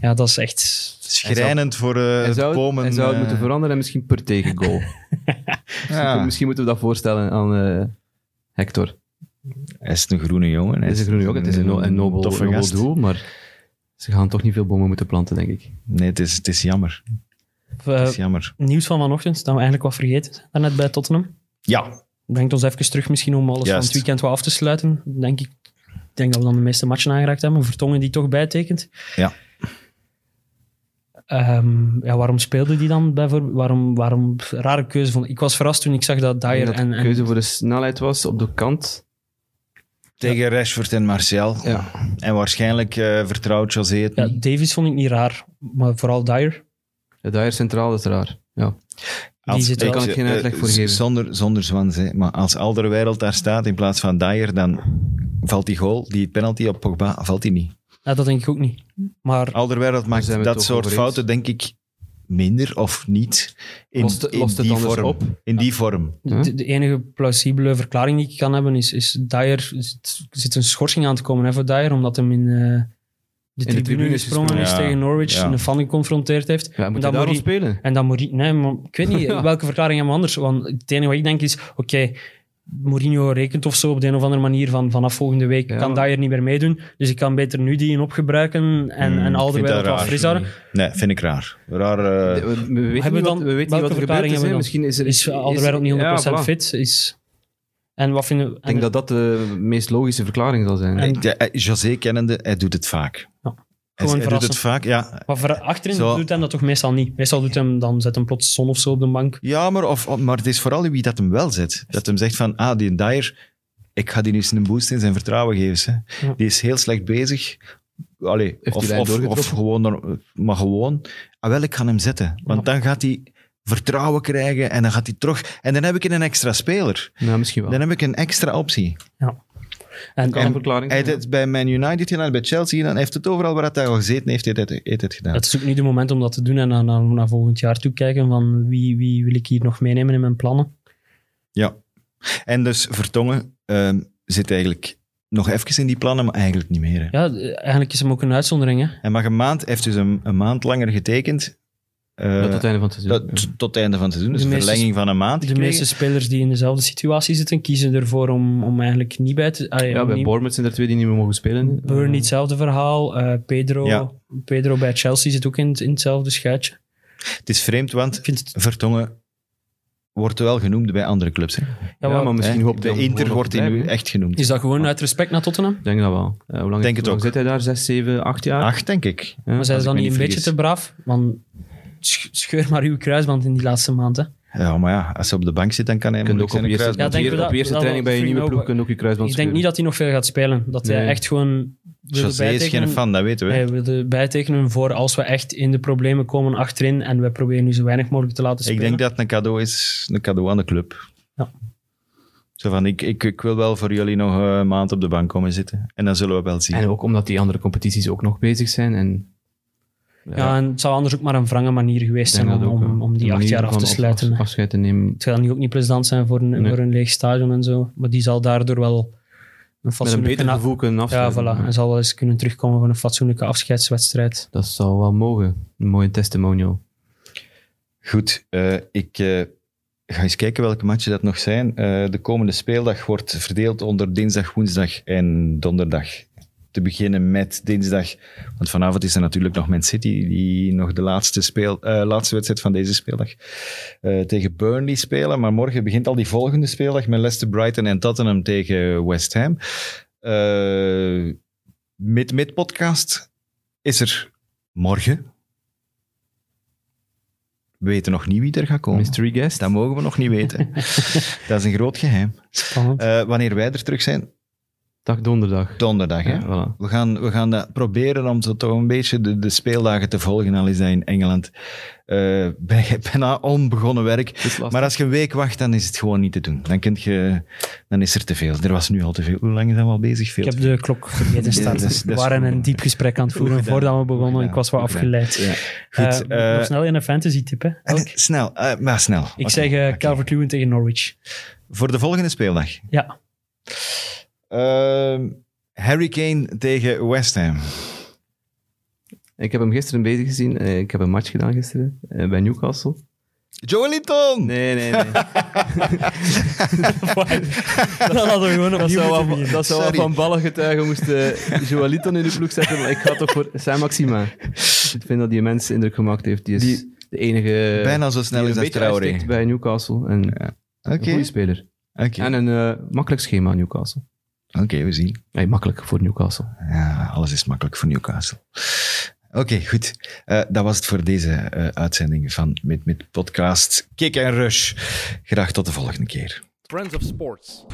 hè. Ja, dat is echt... Schrijnend voor eh Hij het zou, komen. hij zou het eh, moeten veranderen en misschien per tegengoal. ja. Misschien moeten we dat voorstellen aan eh, Hector. Hij is een groene jongen. Hij Het is een groene ook. Het is een, no- een nobel, toffe nobel gast. doel, maar ze gaan toch niet veel bomen moeten planten, denk ik. Nee, het is, het is jammer. eh, Het is jammer. nieuws van vanochtend, dat we eigenlijk wat vergeten zijn, daarnet bij Tottenham. Ja, brengt ons even terug misschien om alles van Juist. het weekend wat af te sluiten. Denk ik, ik denk dat we dan de meeste matchen aangeraakt hebben. Vertongen die toch bijtekent. Ja. Ehm, ja, waarom speelde die dan bijvoorbeeld? Waarom, waarom, rare keuze. Vond. ik. Ik was verrast toen ik zag dat Ik denk Dyer dat en... de en- keuze voor de snelheid was op de kant. tegen Rashford en Martial. Ja. En waarschijnlijk eh, vertrouwt José het ja, niet. Davies vond ik niet raar, maar vooral Dyer. Ja, daar centraal dat is raar. Ja. Die zit wel- Daar kan ik geen eh, uitleg voor z- geven. Zonder, zonder zwans, hè. maar als Alderweireld daar staat in plaats van Dyer, dan valt die goal, die penalty op Pogba, valt die niet. Ja, dat denk ik ook niet. Maar Alderweireld Dus zijn maakt we dat toch soort over eens. fouten, denk ik, minder of niet in, Lost het- in lost het die anders vorm. op? In die vorm. Huh? de, de enige plausibele verklaring die ik kan hebben is, is Dyer... zit- Er zit een schorsing aan te komen hè, voor Dyer, omdat hem in... eh, de tribune, tribune is gesprongen is gesprongen. Ja, tegen Norwich, ja. een fan geconfronteerd heeft. Ja, moet Dan je daarom moet spelen? En dan Mourinho... Nee, maar ik weet niet Ja. welke verklaring hebben we anders. Want het enige wat ik denk is... Oké, Mourinho rekent of zo op de een of andere manier van vanaf volgende week Ja, kan maar- Dyer niet meer meedoen. Dus ik kan beter nu die in opgebruiken en, Hmm, en ik Alderweireld vind dat wat raar. fris houden. Nee, vind ik raar. Raar. eh, we, we weten hebben niet we wat, dan- we weten welke niet wat er verklaring gebeurd is. hebben we hè. dan? Misschien is er... Is Alderweireld niet 100% ja, voilà. fit? Is... En wat vinden we... Ik denk dat dat de meest logische verklaring zal zijn. eh, José kennende, hij doet het vaak. Ja. Hij, Gewoon hij doet het verrassen. vaak, ja. Maar voor achterin Zo. doet hem dat toch meestal niet. Meestal doet hem dan, zet hem plots zon of zo op de bank. Ja, maar, of, maar het is vooral wie dat hem wel zet. Dat hem zegt van, ah, die Dyer, ik ga die eens een boost in zijn vertrouwen geven. Hè. Ja. Die is heel slecht bezig. Allee, die of, lijn of, doorgetrokken? of gewoon, naar- maar gewoon. Ah, wel, ik ga hem zetten. Want dan gaat hij vertrouwen krijgen en dan gaat hij terug. En dan heb ik een extra speler. Nou, misschien wel. Dan heb ik een extra optie. En, kan en een verklaring Hij heeft zijn. het bij Man United gedaan, bij Chelsea gedaan. Hij heeft het overal waar hij al gezeten heeft, heeft hij het, heeft hij het gedaan. het is ook niet het moment om dat te doen en naar, naar, naar volgend jaar toe kijken van wie, wie wil ik hier nog meenemen in mijn plannen. En dus Vertongen ehm, zit eigenlijk nog even in die plannen, maar eigenlijk niet meer. hè. Ja, eh, eigenlijk is hem ook een uitzondering. Hè? Hij mag een maand, heeft dus een, een maand langer getekend. Eh, tot het einde van het seizoen. dat- t- tot het einde van het seizoen. Dus De een meeste- verlenging van een maand. De gekregen. meeste spelers die in dezelfde situatie zitten, kiezen ervoor om, om eigenlijk niet bij te... allee, ja, om bij niet- Bournemouth eh. zijn er twee die niet meer mogen spelen. Burn, hetzelfde verhaal. Eh, Pedro, Ja. Pedro bij Chelsea zit ook in, het- in hetzelfde schuitje. Het is vreemd, want Ik vind het... Vertongen wordt wel genoemd bij andere clubs. Hè? Ja, maar misschien Hè? hoopt hij bij om gewoon Inter nog wordt te hij nu blijven, hè? echt genoemd. Is dat gewoon uit respect naar Tottenham? Ik denk dat wel. Eh, hoe lang, Denk het hoe lang ook. zit hij daar? Zes, zeven, acht jaar? Acht, denk ik. Ja. Maar zijn ze als dan ik me niet een niet beetje te vergis. braaf? Want sch- scheur maar uw kruisband in die laatste maand. Hè. Ja, maar ja, als hij op de bank zit, dan kan hij Je kunt moeilijk ook op zijn eerste, kruisband. Ja, denk op we eer- dat- op eerste dat training wel bij je nieuwe free ploeg kun je ook je kruisband Ik denk niet dat hij nog veel gaat spelen. Dat hij Nee. echt gewoon wilde José is geen bijtekenen. fan, dat weten we. Hij wilde bijtekenen voor als we echt in de problemen komen achterin en we proberen nu zo weinig mogelijk te laten ik spelen. denk dat het een cadeau is, een cadeau aan de club. Ja. Zo van, ik, ik, ik wil wel voor jullie nog eh, een maand op de bank komen zitten. En dan zullen we wel zien. En ook omdat die andere competities ook nog bezig zijn. En, ja, en het zou anders ook maar een wrange manier geweest ik denk zijn dat om, ook, om, eh, om de die acht manier jaar af van te sluiten. hè. afscheid te nemen. Het gaat nu ook niet plezant zijn voor een, Nee. voor een leeg stadion en zo. Maar die zal daardoor wel een Met een fatsoenlijke... beter na- gevoel kunnen ja, afsluiten. voilà. Hij zal wel eens kunnen terugkomen van een fatsoenlijke afscheidswedstrijd. Dat zou wel mogen. Een mooie testimonial. Goed, eh, ik eh, ga eens kijken welke matchen dat nog zijn. Eh, de komende speeldag wordt verdeeld onder dinsdag, woensdag en donderdag. Te beginnen met dinsdag, want vanavond is er natuurlijk nog Man City, die nog de laatste, speel, eh, laatste wedstrijd van deze speeldag eh, tegen Burnley spelen. Maar morgen begint al die volgende speeldag met Leicester, Brighton en Tottenham tegen West Ham. Eh, Mid-mid-podcast is er morgen. We weten nog niet wie er gaat komen. Mystery guest. Dus Dat mogen we nog niet weten. dat is een groot geheim. Spannend. Eh, wanneer wij er terug zijn? Dag donderdag. Donderdag, hè? Ja, voilà. We gaan, we gaan dat proberen om zo toch een beetje de, de speeldagen te volgen, al is dat in Engeland eh, bij, bijna onbegonnen werk. Het is lastig. Maar als je een week wacht, dan is het gewoon niet te doen. Dan, kunt je, dan is er te veel. Er was nu al te veel. Hoe lang zijn we al bezig? Veel Ik heb te de klok vergeten Ja, dat starten. is- dat We is waren goed. een diep gesprek aan het voeren Goed gedaan. voordat we begonnen. Goed Ik was wel gedaan. Goed afgeleid. gedaan. Eh, Goed, eh, nog snel in een fantasy tip, hè? veel. Elk. Snel, eh, maar snel. Ik Oké, zeg eh, oké. Calvert-Lewin tegen Norwich. Voor de volgende speeldag. Ja, Ehm, Harry Kane tegen West Ham. Ik heb hem gisteren bezig gezien. Eh, Ik heb een match gedaan gisteren eh, bij Newcastle. Joelinton! Nee, nee, nee. dan hadden we gewoon Dat opnieuw zou, moeten wel, beginnen. dat zou wel Sorry. van ballen getuigen moesten Joaliton in de ploeg zetten, maar ik ga toch voor Sam Maxima. Ik vind dat die mens indruk gemaakt heeft. Die is Die- de enige... Bijna zo eh, die snel een is als beetje Traoré. uitsteekt bij Newcastle. En Een Oké, goede speler. oké. En een eh, makkelijk schema Newcastle. Oké, we zien. Nee, makkelijk voor Newcastle. Ja, alles is makkelijk voor Newcastle. Oké, goed. Eh, dat was het voor deze eh, uitzending van Mid Mid Podcast Kick and Rush. Graag tot de volgende keer. Friends of Sports.